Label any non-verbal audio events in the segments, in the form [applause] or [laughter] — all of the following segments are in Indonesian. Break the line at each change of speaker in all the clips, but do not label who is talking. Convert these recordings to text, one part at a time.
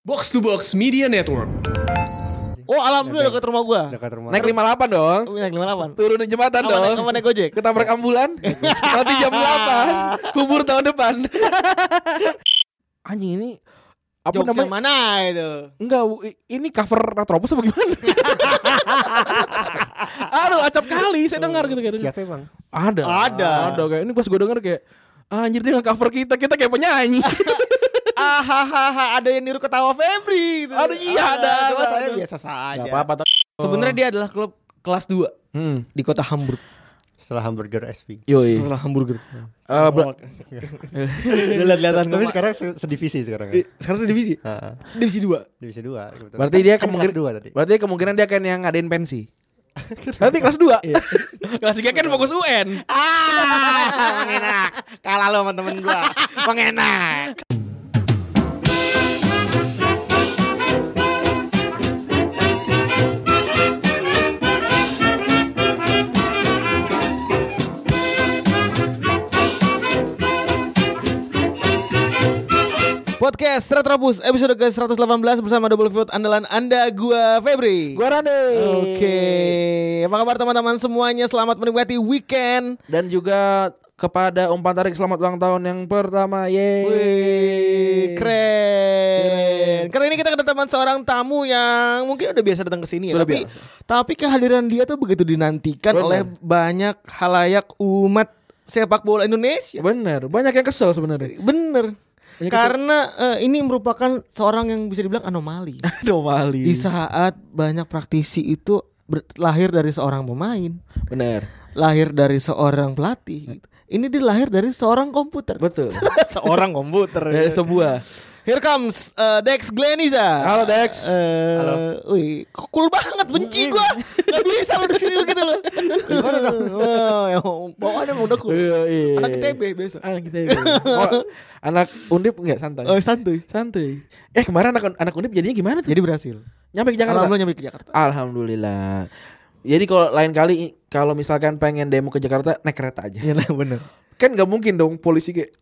Box to Box Media Network.
Oh alam dulu dekat rumah gua.
dekat rumah
Naik 58 dong.
Lu Naik lima delapan.
Turunin jembatan
Apa naik,
dong.
apa naik gojek? Ah,
Ketabrak ambulan. Nanti jam 8. Kubur tahun depan. Anjing ini apa
Jokes yang
namanya?
mana itu?
Enggak, w- i- ini cover Retrobus apa
[laughs]
gimana? Aduh, acap kali saya dengar gitu kayak
siapa bang
Ada.
Ada.
Ada kayak ini pas gue denger kayak anjir dia nge-cover kita, kita
[laughs]
kayak penyanyi.
Ah, ha, ha, ha, ada yang niru ketawa Febri. Itu.
Aduh, iya, ada,
cuma
ada,
saya
ada.
biasa saja.
Gak apa-apa. tapi-
Sebenarnya dia adalah klub kelas 2
Hmm.
di kota Hamburg.
[laughs]
setelah hamburger SV
Yoi.
Setelah hamburger.
Eh, bro-
Lihat-lihatan.
tapi sekarang se- sedivisi sekarang kan?
sekarang sedivisi.
Ah, ah.
Divisi 2.
divisi dua kebetulan.
Berarti
Kan-
dia
kan kelas
kemungkinan
dua tadi
Berarti kemungkinan dia akan yang ngadain
[laughs]
pensi. Nanti kelas 2.
Iya.
[laughs] kelas 3 kan fokus UN.
Ah, enak. Kalah lo sama temen gua. Pengenak. Podcast Retrobus episode ke-118 bersama Double Field andalan Anda gua Febri.
Gua Rande.
Oke, apa kabar teman-teman semuanya? Selamat menikmati weekend.
Dan juga kepada umpan tarik selamat ulang tahun yang pertama. Yeay.
Wih, keren. Karena ini kita kedatangan seorang tamu yang mungkin udah biasa datang ke sini ya,
Sudah
tapi
biasa.
tapi kehadiran dia tuh begitu dinantikan
Benar.
oleh banyak halayak umat sepak bola Indonesia.
Bener, banyak yang kesel sebenarnya.
Bener.
Banyak
Karena eh, ini merupakan seorang yang bisa dibilang anomali.
Aduh Mali.
Di saat banyak praktisi itu ber- lahir dari seorang pemain,
Bener.
lahir dari seorang pelatih. gitu. Ini dilahir dari seorang komputer. [laughs]
Betul.
seorang
[laughs]
komputer.
Dari sebuah.
Here comes uh, Dex Gleniza.
Halo, Dex.
Eh,
Halo.
Wih, cool banget benci gua. Gak bisa lu di sini lu gitu lu. [laughs] Wah, yang bawaannya emang udah cool.
Iya, iya.
Anak TB biasa.
Anak kita. Oh, anak undip enggak santai.
Ah, Oh, santuy.
Santuy. Eh kemarin anak anak undip jadinya gimana tuh?
Jadi berhasil.
Nyampe ke Jakarta.
Alhamdulillah nyampe ke Jakarta.
Alhamdulillah. Jadi kalau lain kali i- kalau misalkan pengen demo ke Jakarta naik kereta aja.
Iya, nah, bener.
Kan nggak mungkin dong polisi kayak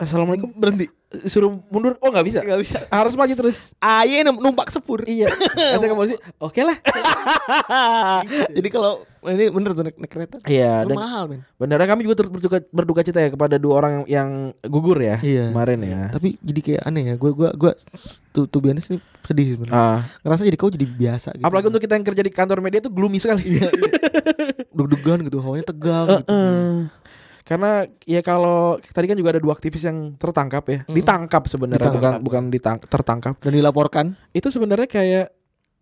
Assalamualaikum berhenti suruh mundur. Oh nggak bisa.
Gak bisa.
Harus maju terus.
Aye num- numpak sepur.
Iya. Kata ke polisi, oke lah.
[laughs] Jadi kalau ini bener tuh naik, naik kereta.
Iya.
Lu
Dan
mahal men.
beneran kami juga turut berduka, berduka cita ya kepada dua orang yang, yang gugur ya
Iya.
kemarin ya.
Tapi jadi kayak aneh ya. Gue gue gue tuh tuh biasanya sih sedih sih sebenarnya.
Ah,
Ngerasa jadi kau jadi biasa gitu.
apalagi untuk kita yang kerja di kantor media tuh gloomy sekali. [laughs]
deg-degan gitu, hawanya tegang
Eh,
gitu.
Heeh. Karena ya kalau tadi kan juga ada dua aktivis yang tertangkap ya, ditangkap sebenarnya bukan
Ditangkap.
bukan ditang- tertangkap.
Dan dilaporkan
Itu sebenarnya kayak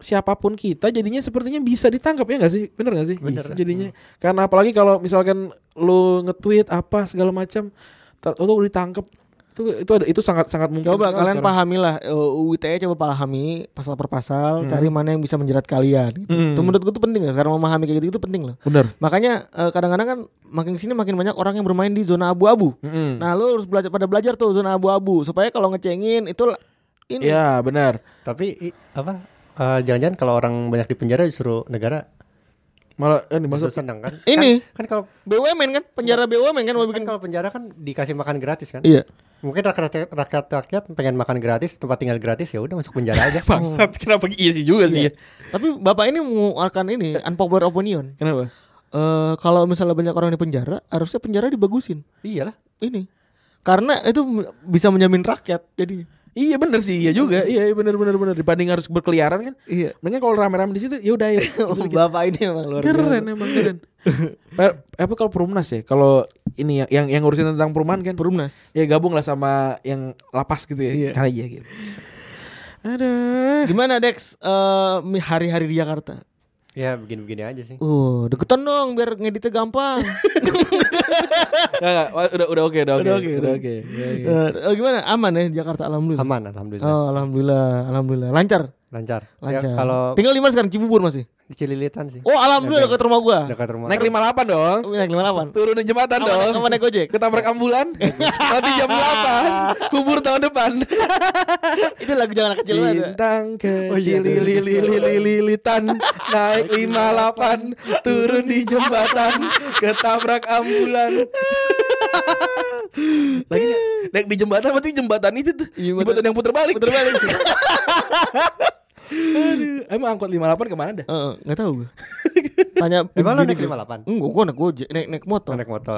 siapapun kita jadinya sepertinya bisa ditangkap ya nggak sih? Bener nggak sih?
Bener.
Bisa. Jadinya
Hmm.
karena apalagi kalau misalkan lu nge-tweet apa segala macam, ter- lu ditangkap itu itu ada itu sangat sangat mungkin.
Coba
sekali
kalian eh,
sekarang.
pahamilah UU ITE E coba pahami pasal per pasal cari mana yang bisa menjerat kalian. Gitu.
Hmm.
Itu menurut gue tuh penting loh karena memahami kayak gitu itu penting loh.
Bener.
Makanya eh, kadang-kadang kan makin kesini makin banyak orang yang bermain di zona abu-abu.
Mm-mm.
Nah, lu harus belajar pada belajar tuh zona abu-abu supaya kalau ngecengin itu l- Nah, ini
Iya benar.
tapi i- apa eh, jangan-jangan kalau orang banyak di penjara disuruh negara
Malah eh,
disuruh
dimaksud
senang kan
Ini.
kan, kan kalau
BUMN kan
Iya.
penjara BUMN kan mau
kan
bikin
kalau penjara kan dikasih makan gratis kan
Iya.
mungkin rakyat rakyat rakyat pengen makan gratis tempat tinggal gratis ya udah masuk penjara aja
bangsat kenapa iya sih juga sih. ya.
Tapi Bapak ini mengeluarkan ini unpopular opinion.
Kenapa?
Eh kalau misalnya banyak orang di penjara, harusnya penjara dibagusin.
iyalah
ini karena itu m- bisa menjamin rakyat jadi
Iya bener sih, iya juga. Iya iya, bener bener bener. Dibanding harus berkeliaran kan.
iya
Mendingan kalau rame-rame di situ, ya udah ya.
Oh, bapak ini emang [laughs] luar
keren
biasa
emang keren. Pa- apa kalau perumnas ya? Kalau ini yang yang, yang ngurusin tentang perumahan kan?
perumnas
Ya gabung lah sama yang lapas gitu ya.
Iya.
Karena iya gitu. Ada.
gimana Dex Eh, mi- hari-hari di Jakarta
ya begini-begini aja sih
uh deketan dong biar ngeditnya [laughs] gampang
udah udah oke, udah oke.
Udah oke,
Udah
udah
oke. Udah oke.
Eh, eh, gimana aman ya di Jakarta alhamdulillah
aman alhamdulillah
oh alhamdulillah alhamdulillah lancar
lancar ya
lancar
kalau
tinggal di mana sekarang Cibubur masih
di Cililitan sih
oh alhamdulillah
Dekat-
dekat rumah gua
dekat rumah
Naik 58 dong.
Oh, naik lima delapan
Turunin jembatan
Apa
dong.
naik- apa naik gojek?
Ketabrak ambulan. Nanti jam 8. Kubur tahun depan.
itu lagu jangan anak kecil banget ya.
Bintang
Oh,
kecil
iya,
lili lili lili litan naik
[laughs]
58 turun di jembatan ketabrak ambulan.
Lagi
Naik di jembatan berarti jembatan itu tuh.
Iya,
Jembatan, yang putar balik. Putar [laughs] balik.
Emang angkot 58 kemana dah?
Eh, nggak tahu [laughs] gue. Tanya
Emang lo naik
gini,
58?
Enggak, gua naik gojek, naik naik motor.
naik motor.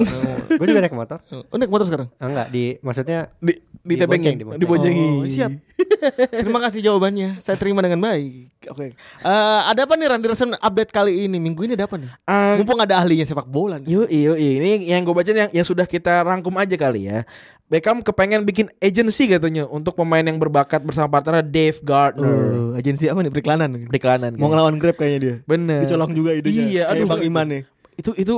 gue juga naik motor.
Oh, naik motor sekarang.
Ah, [laughs] enggak di maksudnya
di di tebengin,
Dibonceng, dibonceng.
diboncengi.
Oh, siap. [laughs] Terima kasih jawabannya. Saya terima dengan baik. Oke. Eh, ada apa nih Randy Resen update kali ini? Minggu ini ada apa nih?
Ah,
Mumpung ada ahlinya sepak bola nih.
Yo, yo, ini yang gue baca yang yang sudah kita rangkum aja kali ya. Beckham kepengen bikin agency katanya untuk pemain yang berbakat bersama partnernya Dave Gardner.
Oh, agensi apa nih periklanan?
Periklanan.
Mau ngelawan Grab kayaknya dia.
Bener.
Dicolong juga idenya.
Iya,
Kayak
aduh.
Bang Iman ya. nih.
itu itu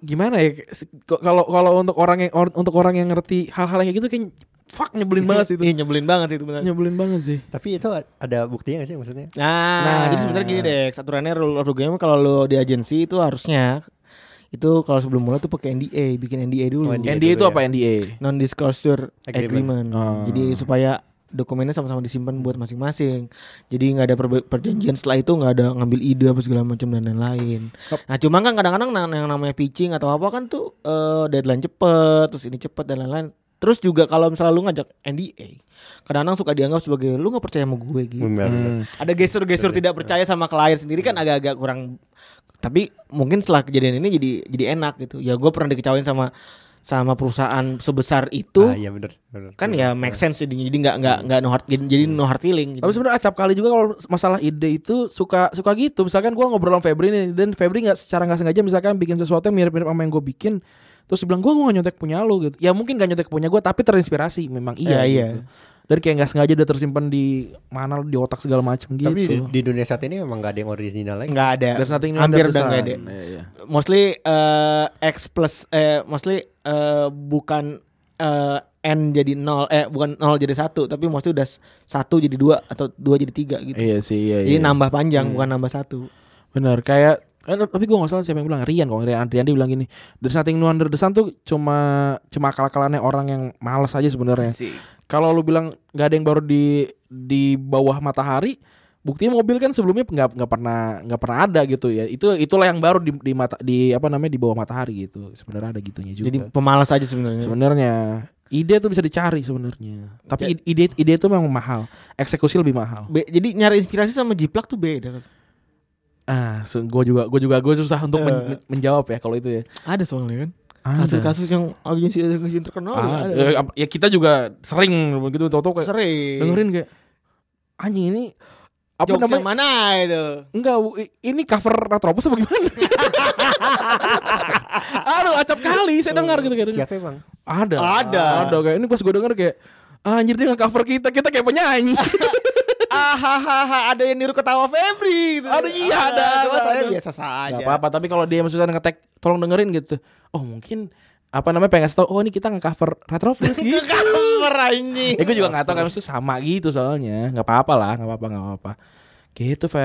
gimana ya? Se- Kalau kalau untuk orang yang or- untuk orang yang ngerti hal-hal yang kayak gitu kayak fuck
[laughs]
nyebelin banget sih itu.
Iya, nyebelin banget sih itu benar.
nyebelin banget sih.
tapi itu a- ada buktinya gak sih maksudnya?
Nah,
Nah.
jadi sebenarnya gini deh, aturannya rule of the game kalau lo di agensi itu harusnya itu kalau sebelum mulai tuh pakai NDA, bikin NDA dulu.
Oh, NDA.
NDA itu
dulu ya.
apa NDA?
Non disclosure agreement.
Agreement.
Oh.
Jadi supaya dokumennya sama-sama disimpan buat masing-masing. Jadi nggak ada perbe- perjanjian setelah itu nggak ada ngambil ide apa segala macam dan lain-lain. Nah, cuma kan kadang-kadang na- yang namanya pitching atau apa kan tuh eh, deadline cepet, terus ini cepet dan lain-lain. Terus juga kalau misalnya lu ngajak NDA, kadang-kadang suka dianggap sebagai lu nggak percaya sama gue
Hmm.
gitu
Bener.
ada
Iya.
gestur-gestur tidak percaya sama klien sendiri kan agak-agak kurang tapi mungkin setelah kejadian ini jadi jadi enak gitu ya gue pernah dikecewain sama sama perusahaan sebesar
Ah,
itu
iya bener, bener.
kan ya make sense jadinya jadi nggak nggak nggak no hard jadi no hard feeling gitu.
Tapi sebenarnya acap kali juga kalau masalah ide itu suka suka gitu. Misalkan gua ngobrol sama Febri nih dan Febri nggak secara nggak sengaja misalkan bikin sesuatu yang mirip-mirip sama yang gue bikin. Terus dia bilang gue gak nyontek punya lo gitu. Ya mungkin gak nyontek punya gue tapi terinspirasi memang iya.
Ya, iya.
gitu. Dan kayak nggak sengaja udah tersimpan di mana di otak segala macam gitu.
Tapi di, di dunia saat ini memang gak ada yang original lagi.
nggak ada
There's nothing new
hampir
under the
udah nggak ada
sun. Iya, iya.
mostly eh, x plus eh mostly eh, bukan eh, n jadi nol eh bukan nol jadi satu tapi mostly udah s- satu jadi dua atau dua jadi tiga gitu
Iya sih iya.
jadi
iya.
nambah panjang bukan nambah satu
Bener kayak eh, tapi gue gak salah siapa yang bilang Rian kok Rian Rian dia bilang gini There's nothing new under the sun tuh cuma cuma akal-akalannya orang yang malas aja sebenarnya kalau lu bilang nggak ada yang baru di di bawah matahari buktinya mobil kan sebelumnya nggak nggak pernah nggak pernah ada gitu ya itu itulah yang baru di di mata di apa namanya di bawah matahari gitu sebenarnya ada gitunya juga
jadi pemalas aja sebenarnya
sebenarnya ide tuh bisa dicari sebenarnya tapi ide- ide ide itu memang mahal eksekusi lebih mahal
Be- jadi nyari inspirasi sama jiplak tuh beda.
ah gue juga gue juga gue susah untuk men- men- menjawab ya kalau itu ya
Ada soalnya kan.
Ada.
Kasus-kasus yang agensi agensi terkenal
Ah,
Oh, ada.
eh, apa- ya kita juga sering begitu tau-tau kayak
Sering.
dengerin kayak anjing ini apa
Jokes yang
namanya
mana itu?
enggak w- i- ini cover Retropus apa
[laughs]
gimana aduh acap kali saya dengar gitu kayak
Siapa emang?
ada
Ada.
ada kayak ini pas gue denger kayak "Ah, anjir dia nge-cover kita kita kayak penyanyi
[laughs] Ahahaha, ada yang niru ketawa Febri gitu.
Aduh, iya, ada,
cuma
ada,
saya
ada.
biasa saja.
Gak
[laughs]
apa-apa tapi kalau dia maksudnya ngetek tolong dengerin gitu oh mungkin apa namanya pengen ngasih tau oh ini kita nge-cover
[laughs]
Retropus gitu
Cover anjing.
Ya gue juga gak tau kan Maksudnya sama gitu soalnya Gak apa-apa lah Gak apa-apa gak apa-apa Gitu Feb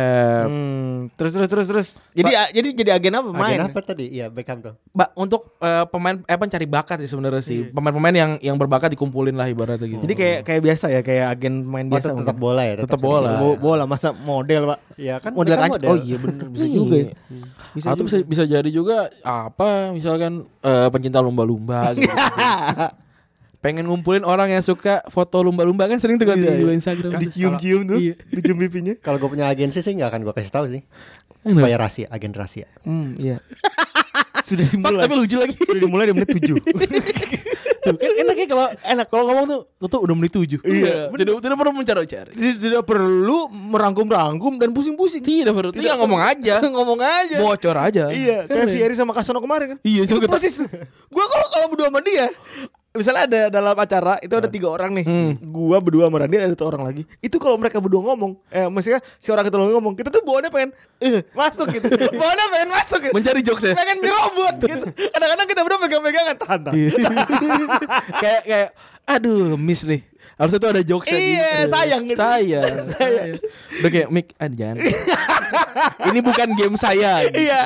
Hmm, terus terus terus terus. Jadi a- jadi jadi agen apa main?
Agen apa tadi? Iya Beckham tuh.
Mbak, untuk eh, pemain eh pencari bakat sih sebenarnya sih. Pemain-pemain yang yang berbakat dikumpulin lah ibaratnya gitu.
Jadi kayak kayak biasa ya, kayak agen main
Oh,
biasa.
tetap,
mungkin.
bola ya.
Tetap bola.
Bo- bola masa model, Pak.
Iya kan
Model
Beckham
kancil. Oh [laughs] iya bener bisa juga. ya. Bisa
atau bisa bisa jadi juga apa misalkan eh, pencinta lumba-lumba gitu. Pengen ngumpulin orang yang suka foto lumba-lumba
iya,
kan sering tuh kan di, di Instagram.
Dicium-cium tuh,
Iya.
dicium pipinya.
Kalau gue punya agensi sih nggak akan gue kasih tahu sih. Supaya rahasia, agen rahasia.
Hmm, iya. [laughs] Sudah
Fuck,
dimulai.
tapi lucu lagi.
Sudah dimulai di menit [laughs] 7.
Tuh, kan enak ya kalau enak kalau ngomong tuh lo tuh udah menit tujuh. Iya. Tidak tidak perlu mencari-cari.
Tidak perlu merangkum-rangkum dan pusing-pusing.
Tidak perlu. Tinggal ngomong aja.
[laughs] Ngomong aja.
Bocor aja.
Iya, kayak Fieri sama Kasano kemarin kan.
Iya,
itu
juga.
persis. Gua kalau kalau berdua sama dia, misalnya ada dalam acara itu ada tiga orang nih. Gua berdua sama dia ada satu orang lagi. Itu kalau mereka berdua ngomong, eh maksudnya si orang itu ngomong, kita tuh bawaannya pengen eh, masuk [laughs] gitu. bawaannya pengen masuk gitu.
Mencari jokes
[laughs]
ya.
pengen dirobot gitu. Kadang-kadang kita berdua pegang-pegangan tahan. tahan.
Iya. kayak kayak aduh miss nih harusnya tuh ada jokes ya.
Iya, sayang gitu.
sayang
[laughs]
sayang udah kayak Mik ah jangan ini bukan game saya gitu.
Iya,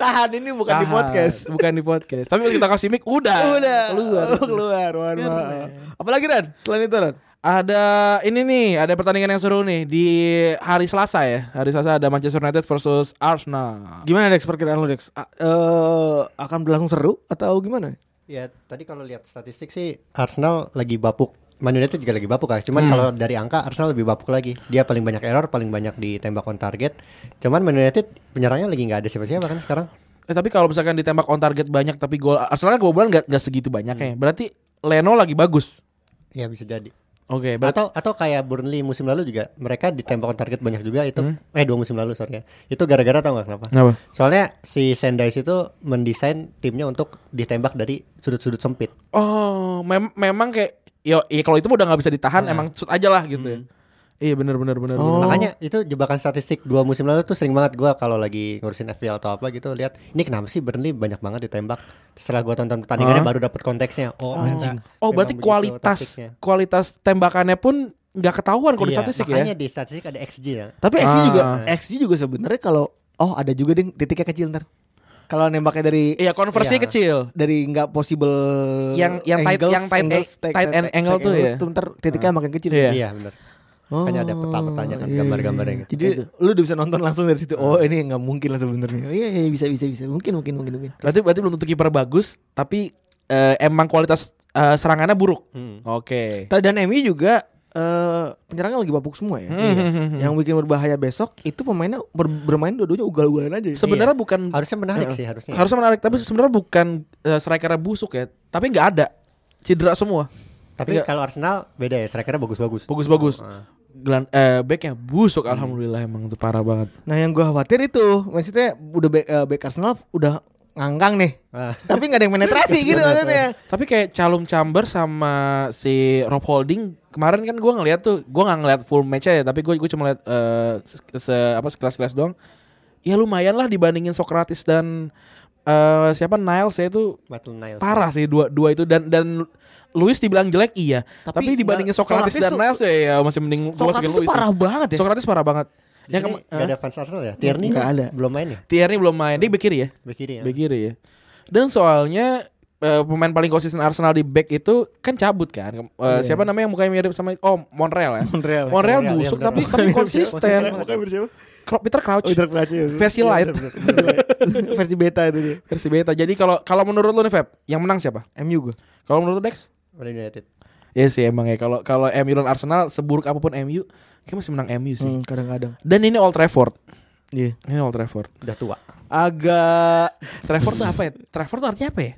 tahan ini bukan di
Tahan,
podcast.
bukan di podcast tapi kalau kita kasih mic udah
Udah Oh,
keluar
keluar. mohon maaf. Apalagi Ran? Selain itu Ran?
ada ini nih ada pertandingan yang seru nih di hari Selasa ya hari Selasa ada Manchester United versus Arsenal
Gimana Dex perkiraan lo Dex? A- eh, akan berlangsung seru atau gimana?
Ya tadi kalau lihat statistik sih Arsenal lagi bapuk. Man United juga lagi bapuk kan. Cuman kalau dari angka Arsenal lebih bapuk lagi. Dia paling banyak error, paling banyak ditembak on target. Cuman Man United penyerangnya lagi nggak ada siapa-siapa kan sekarang.
Eh, tapi kalau misalkan ditembak on target banyak tapi gol Arsenal kebobolan nggak nggak segitu banyaknya.
Hmm.
Berarti Leno lagi bagus.
Ya bisa jadi.
Oke, berarti
Atau atau kayak Burnley musim lalu juga mereka ditembak on target banyak juga itu. Eh dua musim lalu sorry ya. Itu gara-gara tau gak kenapa?
Kenapa?
Soalnya si Sendais itu mendesain timnya untuk ditembak dari sudut-sudut sempit.
Oh, mem- memang kayak yo, ya kalau itu mah udah nggak bisa ditahan, emang shoot aja lah gitu. ya. Iya benar benar
Oh.
benar. benar.
Nah. Hmm. Makanya itu jebakan statistik dua musim lalu tuh sering banget gua kalau lagi ngurusin FPL atau apa gitu lihat ini kenapa sih Burnley banyak banget ditembak. Setelah gua tonton pertandingannya
Hah?
baru dapat konteksnya. Oh, anjing.
Oh, berarti
gitu
kualitas kualitas tembakannya pun nggak ketahuan kalau di statistik
Iya, makanya
ya.
di statistik ada XG ya.
Tapi XG
Ah.
juga XG juga sebenarnya kalau oh ada juga deh titiknya kecil ntar. Kalau nembaknya dari
Iya, konversi
Iya.
kecil.
dari nggak possible
Yang- yang tight- yang tight- tight end angle tuh ya?
ntar titiknya makin kecil. Oh. Iya,
Iya.
Iya benar. Makanya ada peta-petanya kan gambar-gambarnya gitu.
Jadi lu udah bisa nonton langsung dari situ. Oh, ini nggak mungkin lah sebenarnya. Iya, iya bisa bisa bisa. Mungkin mungkin mungkin mungkin.
Berarti berarti belum tentu kiper bagus, tapi eh, emang kualitas eh, serangannya buruk.
Hmm.
Oke.
Iya.
Ta- Dan MU juga eh penyerangnya lagi babuk semua
Hmm,
ya. Iya. Yang bikin berbahaya besok itu pemainnya ber- bermain dua-duanya ugal-ugalan aja. ya.
Sebenarnya bukan
Harusnya menarik sih harusnya.
harusnya menarik, tapi sebenarnya bukan eh, strikernya busuk ya, tapi nggak ada. Cedera semua.
Tapi
Iya.
kalau Arsenal beda ya, strikernya bagus-bagus.
Oh,
Oh,
Bagus-bagus.
ah.
Gelan, eh, backnya busuk alhamdulillah emang itu parah banget.
Nah, yang gua khawatir itu maksudnya udah back, eh, back Arsenal udah ngangkang nih.
Ah.
Tapi nggak ada yang penetrasi gitu maksudnya.
Tapi kayak Calum Chamber sama si Rob Holding kemarin kan gue ngeliat tuh, gue nggak ngeliat full match-nya ya, tapi gue gue cuma ngeliat eh, se, se- apa sekelas-kelas doang. Ya lumayan lah dibandingin Socrates dan eh, siapa Niles ya itu
Maitland Niles.
parah sih dua dua itu dan dan Luis dibilang jelek iya,
Tapi
tapi, dibandingin
nggak-
Socrates,
Socrates
dan
tuh-
Niles ya, ya masih mending gua
Socrates
masukin
tuh
Luis.
parah banget ya.
Socrates parah banget.
Di
Yang
sini
kema-
nggak ada fans Arsenal ya? Tierney
Nggak
kan
ada.
belum main ya?
Tierney belum main, dia bek kiri ya.
Bek kiri ya.
Bek kiri ya. Dan soalnya eh, pemain paling konsisten Arsenal di back itu kan cabut kan. Eh, Siapa namanya yang mukanya mirip sama oh Monreal ya.
Monreal.
Monreal
Iya. Monreal,
busuk
iya,
tapi
benar.
tapi konsisten. Cro- Peter Crouch.
Oh, iya,
Versi light
Versi beta itu dia.
versi beta. Jadi kalau kalau menurut lu nih Feb, yang menang siapa?
MU gua.
Kalau menurut lu, Dex?
Man United.
Iya sih emang ya kalau kalau MU dan Arsenal seburuk apapun MU, kayak masih menang MU sih.
Hmm, kadang-kadang.
Dan ini Old Trafford.
Iya.
Ini Old Trafford.
Udah tua.
Agak Trafford tuh apa ya? Trafford tuh artinya apa ya?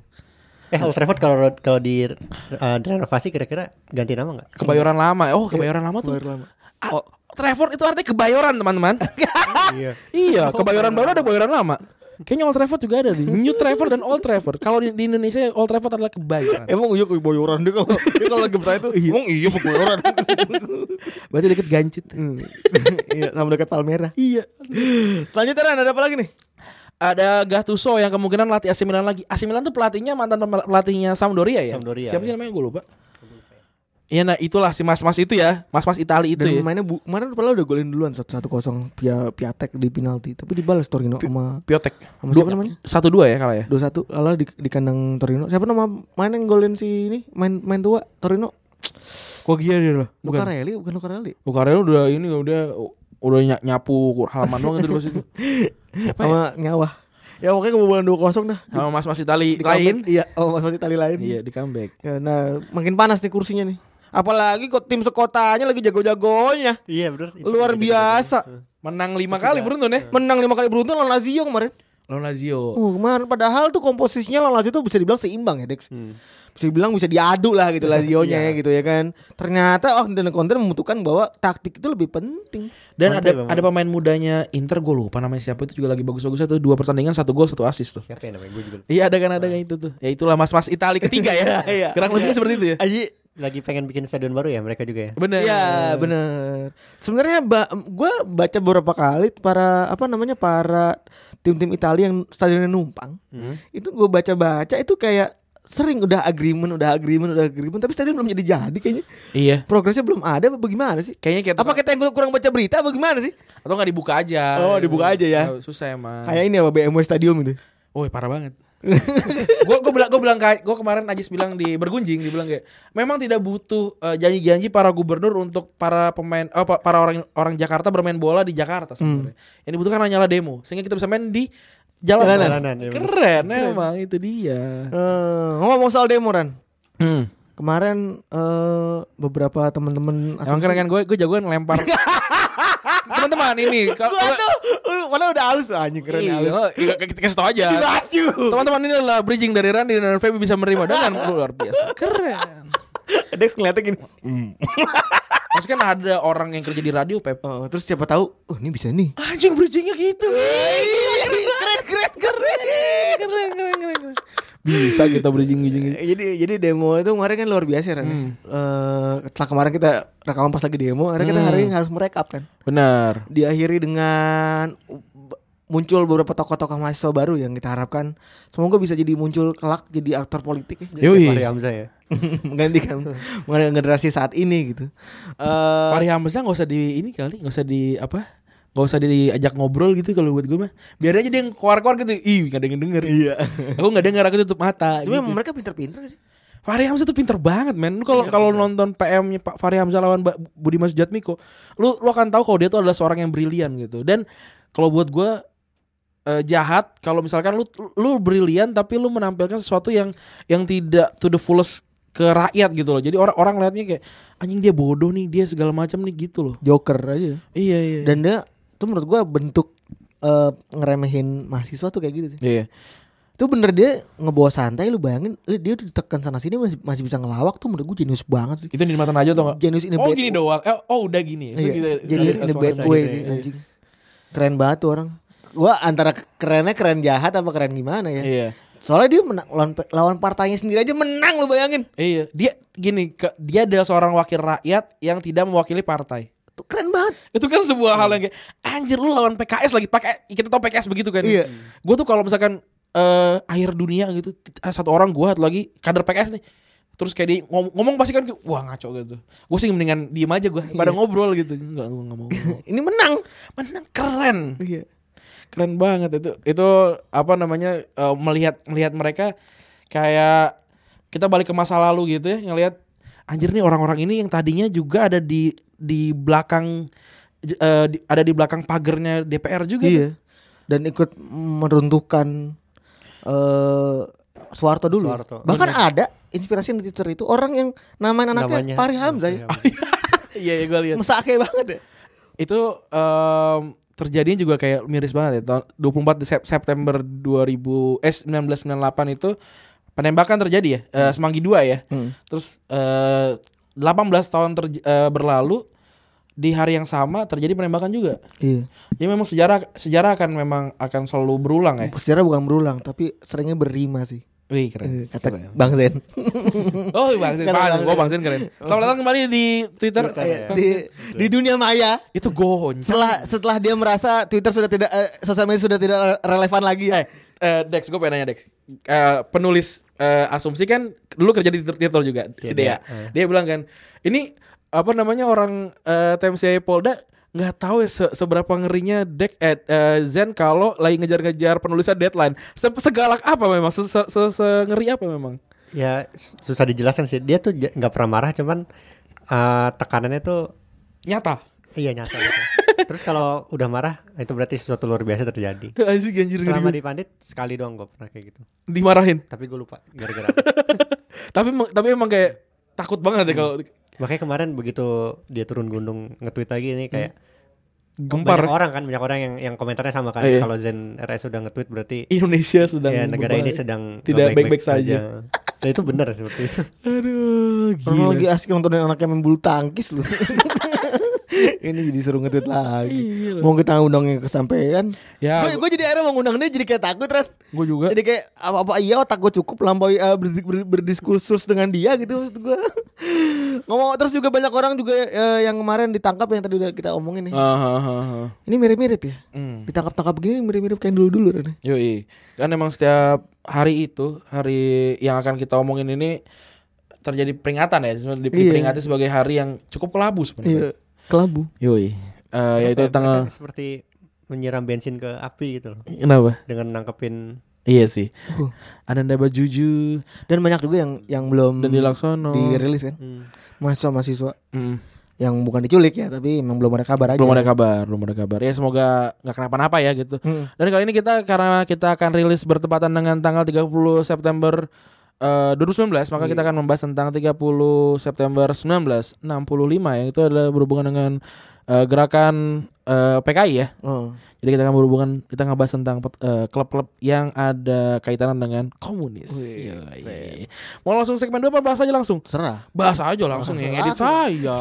Eh Old Trafford kalau kalau di uh, direnovasi kira-kira ganti nama nggak?
Kebayoran lama. Oh, kebayoran lama tuh.
Kebayoran lama.
Ah, Trafford itu artinya kebayoran, [laughs] teman-teman.
Iya.
iya, kebayoran baru ada kebayoran lama. Kayaknya Old Trafford juga ada nih. New Trafford dan Old Trafford. Kalau di, di Indonesia Old Trafford adalah kebayoran.
Emang iya keboyoran dia [laughs] kalau dia kalau lagi bertanya tuh emang iya [laughs] keboyoran.
Berarti deket gancit.
[laughs] iya, sama dekat Palmera.
iya.
Selanjutnya Ran, ada apa lagi nih?
Ada Gattuso yang kemungkinan latih AC Milan lagi. AC Milan tuh pelatihnya mantan pem- pelatihnya Sampdoria ya.
Sampdoria,
Siapa sih
ya.
namanya gue lupa. Iya nah itulah si mas-mas itu ya, mas-mas Itali itu
Dan
ya.
mainnya bu, kemarin Pala udah golin duluan 1-1 kosong Pia Piatek di penalti, tapi dibalas Torino sama
Piotek.
sama siapa namanya?
Satu dua ya kalah ya.
2-1 kalah di, di kandang Torino. Siapa nama main yang golin si ini? Main main tua Torino.
Kok dia loh? Bukan.
Lucarelli bukan Lucarelli.
Bukarnya udah ini udah udah ny- nyapu halaman doang itu di situ.
Sama Nyawa. Ya pokoknya kebobolan 2-0 dah.
Sama mas-mas Itali
Di
lain.
comeback. Iya, oh Mas Mas Itali lain.
Iya di comeback.
Ya, nah, makin panas nih kursinya nih. Apalagi kok tim sekotanya lagi jago-jagonya.
Iya benar. Itu
Luar
ganti-
biasa.
Menang lima kali beruntun ya.
Menang lima kali beruntun lawan Lazio kemarin.
Lawan Lazio.
Oh, kemarin padahal tuh komposisinya lawan Lazio tuh bisa dibilang seimbang ya, Dex. Bisa dibilang bisa diadu lah [laughs] gitu Lazio-nya ya gitu ya kan. Ternyata oh dan konten membutuhkan bahwa taktik itu lebih penting.
Dan ada
Mantap, Bang.
ada pemain mudanya Inter gue lupa namanya siapa itu juga lagi bagus-bagus tuh dua pertandingan satu gol satu assist tuh.
Siapa yang namanya? Gue juga. lupa.
Iya ada kan ada kan itu tuh. Ya itulah mas-mas Itali ketiga [laughs] ya.
Iya.
Kurang lebih seperti itu ya.
Aji
Lagi pengen bikin stadion baru ya mereka juga ya.
Bener.
Iya bener Sebenarnya ba gue baca beberapa kali para apa namanya para tim-tim Italia yang stadionnya numpang itu gue baca-baca itu kayak sering udah agreement udah agreement udah agreement tapi stadion belum jadi jadi kayaknya
Iya.
progresnya belum ada apa bagaimana sih?
Kayaknya kayak
Apa kita yang kur- kurang baca berita apa gimana sih?
atau nggak dibuka aja.
Oh, dibuka aja ya.
Nggak, Susah emang.
Kayak ini apa BMW Stadium itu.
Woi parah banget. [laughs] Gue gue bilang gue bilang gue kemarin Ajis bilang di bergunjing dibilang kayak memang tidak butuh eh, janji-janji para gubernur untuk para pemain eh, pa- para orang orang Jakarta bermain bola di Jakarta sebenarnya. Yang dibutuhkan hanyalah demo sehingga kita bisa main di jalanan.
Jalanan, ya bener.
Keren, emang itu dia.
Eh, ngomong soal demo Ran.
Hmm.
Kemarin eh, beberapa teman-teman
Emang keren kan gue gue jagoan lempar. Teman-teman ini kalau
mana udah halus tuh anjing keren
Iya,
halus.
iya, kita kasih tau aja.
Dibahas yuk.
Teman-teman ini adalah bridging dari Randy dan Feby bisa menerima dengan luar biasa. Keren.
[laughs] Dex ngeliatnya gini.
Maksudnya kan ada orang yang kerja di radio, Pep.
Oh, terus siapa tahu, oh ini bisa nih.
Anjing bridgingnya gitu.
keren keren keren.
Keren, keren, keren, keren. Bisa kita bridging bridging.
Eh, Jadi jadi demo itu kemarin kan luar biasa Ran. ya. Eh, setelah kemarin kita rekaman pas lagi demo, akhirnya kita hari ini harus merekap kan.
Benar.
Diakhiri dengan uh, muncul beberapa tokoh-tokoh mahasiswa baru yang kita harapkan semoga bisa jadi muncul kelak jadi aktor politik ya. [laughs]
Yoi.
Fahri Hamzah ya.
menggantikan menggantikan generasi saat ini gitu. Eh
Fahri Hamzah nggak usah di ini kali, nggak usah di apa? Nggak usah diajak ngobrol gitu kalau buat gue mah. Biar aja dia yang keluar-keluar gitu. Ih, nggak ada yang denger. Iya. aku nggak denger, aku tutup mata.
cuma
gitu.
mereka pinter-pinter sih.
Fahri Hamzah tuh pinter banget men Lu kalau kalau nonton PM-nya Pak Fahri Hamzah lawan Ba- Budiman Sujatmiko Lu lu akan tahu kalau dia tuh adalah seorang yang brilian gitu Dan kalau buat gua eh, jahat kalau misalkan lu lu brilian tapi lu menampilkan sesuatu yang yang tidak to the fullest ke rakyat gitu loh. Jadi orang orang liatnya kayak anjing dia bodoh nih, dia segala macam nih gitu loh.
Joker aja.
Iya iya.
Dan dia itu menurut gua bentuk eh, ngeremehin mahasiswa tuh kayak gitu sih.
iya.
Itu bener dia ngebawa santai lu bayangin eh, dia udah ditekan sana sini masih masih bisa ngelawak tuh menurut gua jenius banget sih.
Itu di mata aja atau enggak?
Genius in a
Oh
bad
gini
way.
doang. Eh, oh udah gini.
Iya, Genius in a bad way
gitu
sih
ya.
anjing. Keren banget tuh orang. Gua antara kerennya keren jahat apa keren gimana ya.
Iya.
Soalnya dia menang lawan, lawan partainya sendiri aja menang lu bayangin.
Iya, dia gini, ke, dia adalah seorang wakil rakyat yang tidak mewakili partai.
Tuh keren banget.
Itu kan sebuah hal yang kayak anjir lu lawan PKS lagi pakai kita tau PKS begitu kan.
Iya.
Gue tuh kalau misalkan eh akhir dunia gitu t- satu orang gua satu lagi kader PKS nih. Terus kayak dia ngom- ngomong pasti kan kayak, wah ngaco gitu. Gue sih mendingan diem aja gua pada ngobrol gitu. Enggak, gua enggak mau. nggak mau.
Ini menang.
Menang keren.
Iya.
Keren banget itu. Itu apa namanya eh, melihat melihat mereka kayak kita balik ke masa lalu gitu ya ngelihat anjir nih orang-orang ini yang tadinya juga ada di di belakang j- eh, di- ada di belakang pagernya DPR juga.
Iya.
gitu."
Dan ikut meruntuhkan eh Soeharto dulu.
Soeharto.
Bahkan ada inspirasi di Twitter itu orang yang namain anaknya
Namanya.
Fahri Hamzah.
Iya,
ya.
Fahri
Iya, iya gue lihat.
Mesake banget ya.
Itu em, terjadinya juga kayak miris banget ya. Tahun 24 Sep- September 2000 eh 1998 itu penembakan terjadi ya. eh, Semanggi 2 ya. Terus eh, 18 tahun terj- eh, berlalu di hari yang sama terjadi penembakan juga.
Iya.
Jadi memang sejarah sejarah akan memang akan selalu berulang ya.
Sejarah bukan berulang tapi seringnya berima sih.
Wih keren.
Eh, Kata Bang Zen.
Oh Bang Zin,
Keren,
Bang Zin.
Bang
Gua Bang Zin keren. Selamat datang kembali di Twitter.
Iya, di, di dunia maya
Itu gohon.
setelah setelah dia merasa Twitter sudah tidak eh, sosial media sudah tidak relevan lagi ya.
Eh, Dex, gue pengen nanya Dex. Eh, penulis eh, asumsi kan dulu kerja di Tirto juga,
Iya,
si Dea.
eh.
Dia bilang kan, ini apa namanya orang eh, TMCI Polda nggak tahu ya se- seberapa ngerinya Dex eh, eh, Zen kalau lagi ngejar-ngejar penulisan deadline. Se segalak apa memang? Se -se -se Ngeri apa memang?
Ya susah dijelaskan sih. Dia tuh ja- nggak pernah marah cuman eh, tekanannya tuh
Nyata. [laughs]
iya nyata.
[laughs]
gitu. Terus kalau udah marah itu berarti sesuatu luar biasa terjadi.
Anjir anjir
Selama di Pandit sekali doang gue pernah kayak gitu.
dimarahin.
Tapi gue lupa gara-gara. apa.
[laughs]
Tapi emang- tapi emang kayak takut banget
Hmm.
ya kalau
Makanya kemarin begitu dia turun gunung nge-tweet lagi nih kayak banyak
gempar
orang kan banyak orang yang yang komentarnya sama
Oh,
kan.
Iya.
Kalau Zen RS udah nge-tweet berarti
Indonesia sedang
ya negara ini
berbahaya.
sedang nggak
tidak baik-baik saja.
Dan itu benar seperti itu.
Aduh,
Orang
gila.
lagi asik nontonin anaknya main bulu tangkis lu. [laughs] Ini jadi seru nge-tweet lagi. Mau kita undangnya kesampaian.
Ya,
gue jadi akhirnya mau ngundang dia jadi kayak takut kan.
Gue juga.
Jadi kayak apa-apa iya otak gue cukup lampaui eh, berdi- ber- berdiskursus dengan dia gitu maksud gue. [laughs] Ngomong terus juga banyak orang juga eh, yang kemarin ditangkap yang tadi udah kita omongin nih.
Ah, Hahaha.
Ini mirip-mirip ya.
Hmm.
Ditangkap-tangkap gini mirip-mirip kayak dulu-dulu Ren.
Yoi. Kan emang setiap hari itu, hari yang akan kita omongin ini terjadi peringatan ya,
Iya.
Sebenarnya diperingati sebagai hari yang cukup kelabu sebenarnya.
Iya, kelabu.
Yoi. Eh
Kayak
yaitu
mereka
tanggal
seperti menyiram bensin ke api gitu loh
kenapa?
dengan nangkepin
Iya sih.
Uh.
Ananda Bajuju
Hmm. Dan banyak juga yang yang belum
dan Dilaksono.
dirilis kan.
hmm,
Masa mahasiswa
Mm.
yang bukan diculik ya tapi memang belum ada kabar aja
Belum ada kabar, belum ada kabar. Ya semoga nggak kenapa-napa ya gitu.
Hmm.
Dan kali ini kita karena kita akan rilis bertepatan dengan tanggal 30 September eh, 2019, maka kita akan membahas tentang 30 September 1965 yang itu adalah berhubungan dengan eh, gerakan eh, PKI ya.
Oh.
Jadi kita akan berhubungan kita ngebahas tentang pet- eh, klub-klub yang ada kaitan dengan komunis. Yoi. Mau langsung segmen 2 apa bahas aja langsung?
serah
Bahas aja langsung yang edit saya.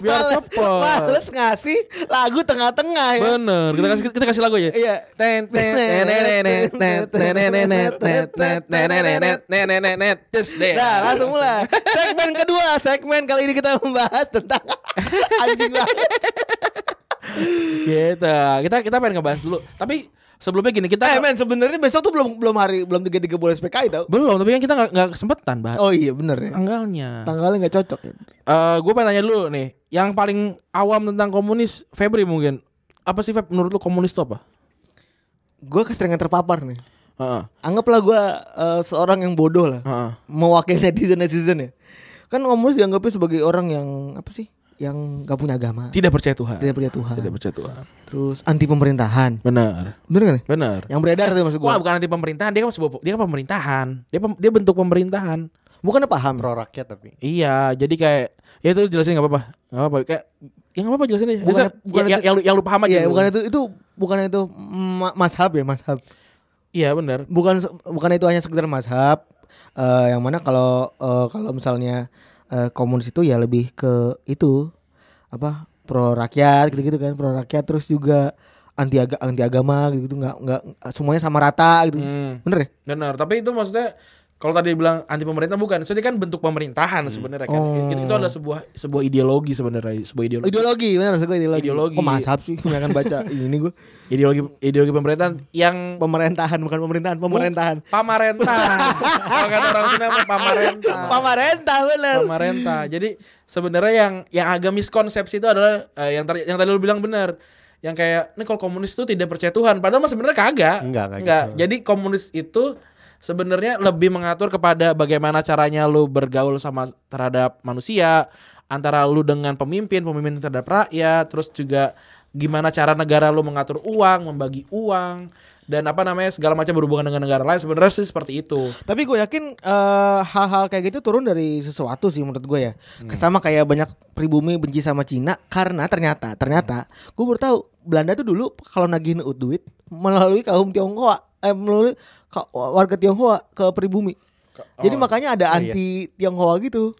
Biar cepet.
males ngasih lagu tengah-tengah ya
Bener, kita kasih kita kasih lagu aja.
Iya.
Ten ten ten nenet, net, nenet, net, net, nenet, nenet, nenet, just there.
Nah langsung mulai Segmen kedua Segmen kali ini kita membahas tentang [laughs] Anjing banget
Gitu. Kita kita pengen ngebahas dulu. Tapi sebelumnya gini kita
Eh men sebenarnya besok tuh belum belum hari Belum 33 bulan PKI tau
belum, tapi kan kita nggak nggak kesempatan bahas
Oh iya bener ya
tanggalnya.
Tanggalnya gak cocok ya
Eh, gue pengen nanya dulu nih, yang paling awam tentang komunis Febri mungkin. Apa sih Feb menurut lu komunis itu apa?
Gue keseringan terpapar nih
Heeh.
Anggaplah gue eh, seorang yang bodoh lah
Heeh.
Mewakili netizen-netizen ya Kan komunis dianggapnya sebagai orang yang Apa sih Yang gak punya agama
Tidak percaya Tuhan.
Tidak punya Tuhan
Tidak percaya Tuhan.
Terus anti pemerintahan
Benar.
Bener gak nih?
Benar.
Yang beredar tuh maksud gue
Wah, bukan anti pemerintahan, dia kan sebuah dia kan pemerintahan. Dia pem- dia bentuk pemerintahan.
Bukan paham
pro rakyat tapi
Iya, jadi kayak ya itu jelasin nggak apa-apa. Nggak apa-apa kayak ya nggak apa-apa jelasin aja.
Bukan-
Maksudnya,
bukan
ya- ya- yang, lu, yang lu paham aja.
Iya
dulu.
bukan itu Itu bukan itu ma- Mashab ya mashab
Iya, benar.
bukan bukan itu hanya sekedar mazhab eh, yang mana kalau eh, kalau misalnya eh, komunis itu ya lebih ke itu apa pro rakyat gitu-gitu kan pro rakyat terus juga anti aga, anti agama gitu nggak nggak semuanya sama rata gitu
Hmm,
bener ya
benar. Tapi itu maksudnya kalau tadi bilang anti pemerintah bukan, itu kan bentuk pemerintahan sebenarnya kan.
Oh.
Itu, itu adalah sebuah sebuah ideologi sebenarnya, sebuah ideologi.
ideologi bener maksud gue ideologi
Ideologi.
kok mazhab sih kebanyakan [laughs] baca ini gue
ideologi ideologi pemerintahan yang
pemerintahan bukan pemerintahan pemerintahan
[laughs] pamarentahan. Kalau kata orang Sunda mah pamarentahan.
[laughs] pemerintah bener
pemerintah. Jadi sebenarnya yang yang agak miskonsepsi itu adalah eh, yang tadi yang tadi lu bilang benar. Yang kayak ini kalau komunis itu tidak percaya Tuhan, padahal mah sebenarnya kagak.
Enggak, enggak gitu.
Jadi komunis itu sebenarnya lebih mengatur kepada bagaimana caranya lu bergaul sama terhadap manusia, antara lu dengan pemimpin, pemimpin terhadap rakyat, terus juga gimana cara negara lu mengatur uang, membagi uang dan apa namanya segala macam berhubungan dengan negara lain sebenarnya sih seperti itu.
Tapi gue yakin eh, hal-hal kayak gitu turun dari sesuatu sih menurut gue ya. Sama kayak banyak pribumi benci sama Cina karena ternyata ternyata gue baru tahu Belanda tuh dulu kalau nagihin ut duit melalui kaum Tionghoa eh melalui ka- warga Tionghoa ke pribumi. Jadi makanya ada anti Tionghoa gitu.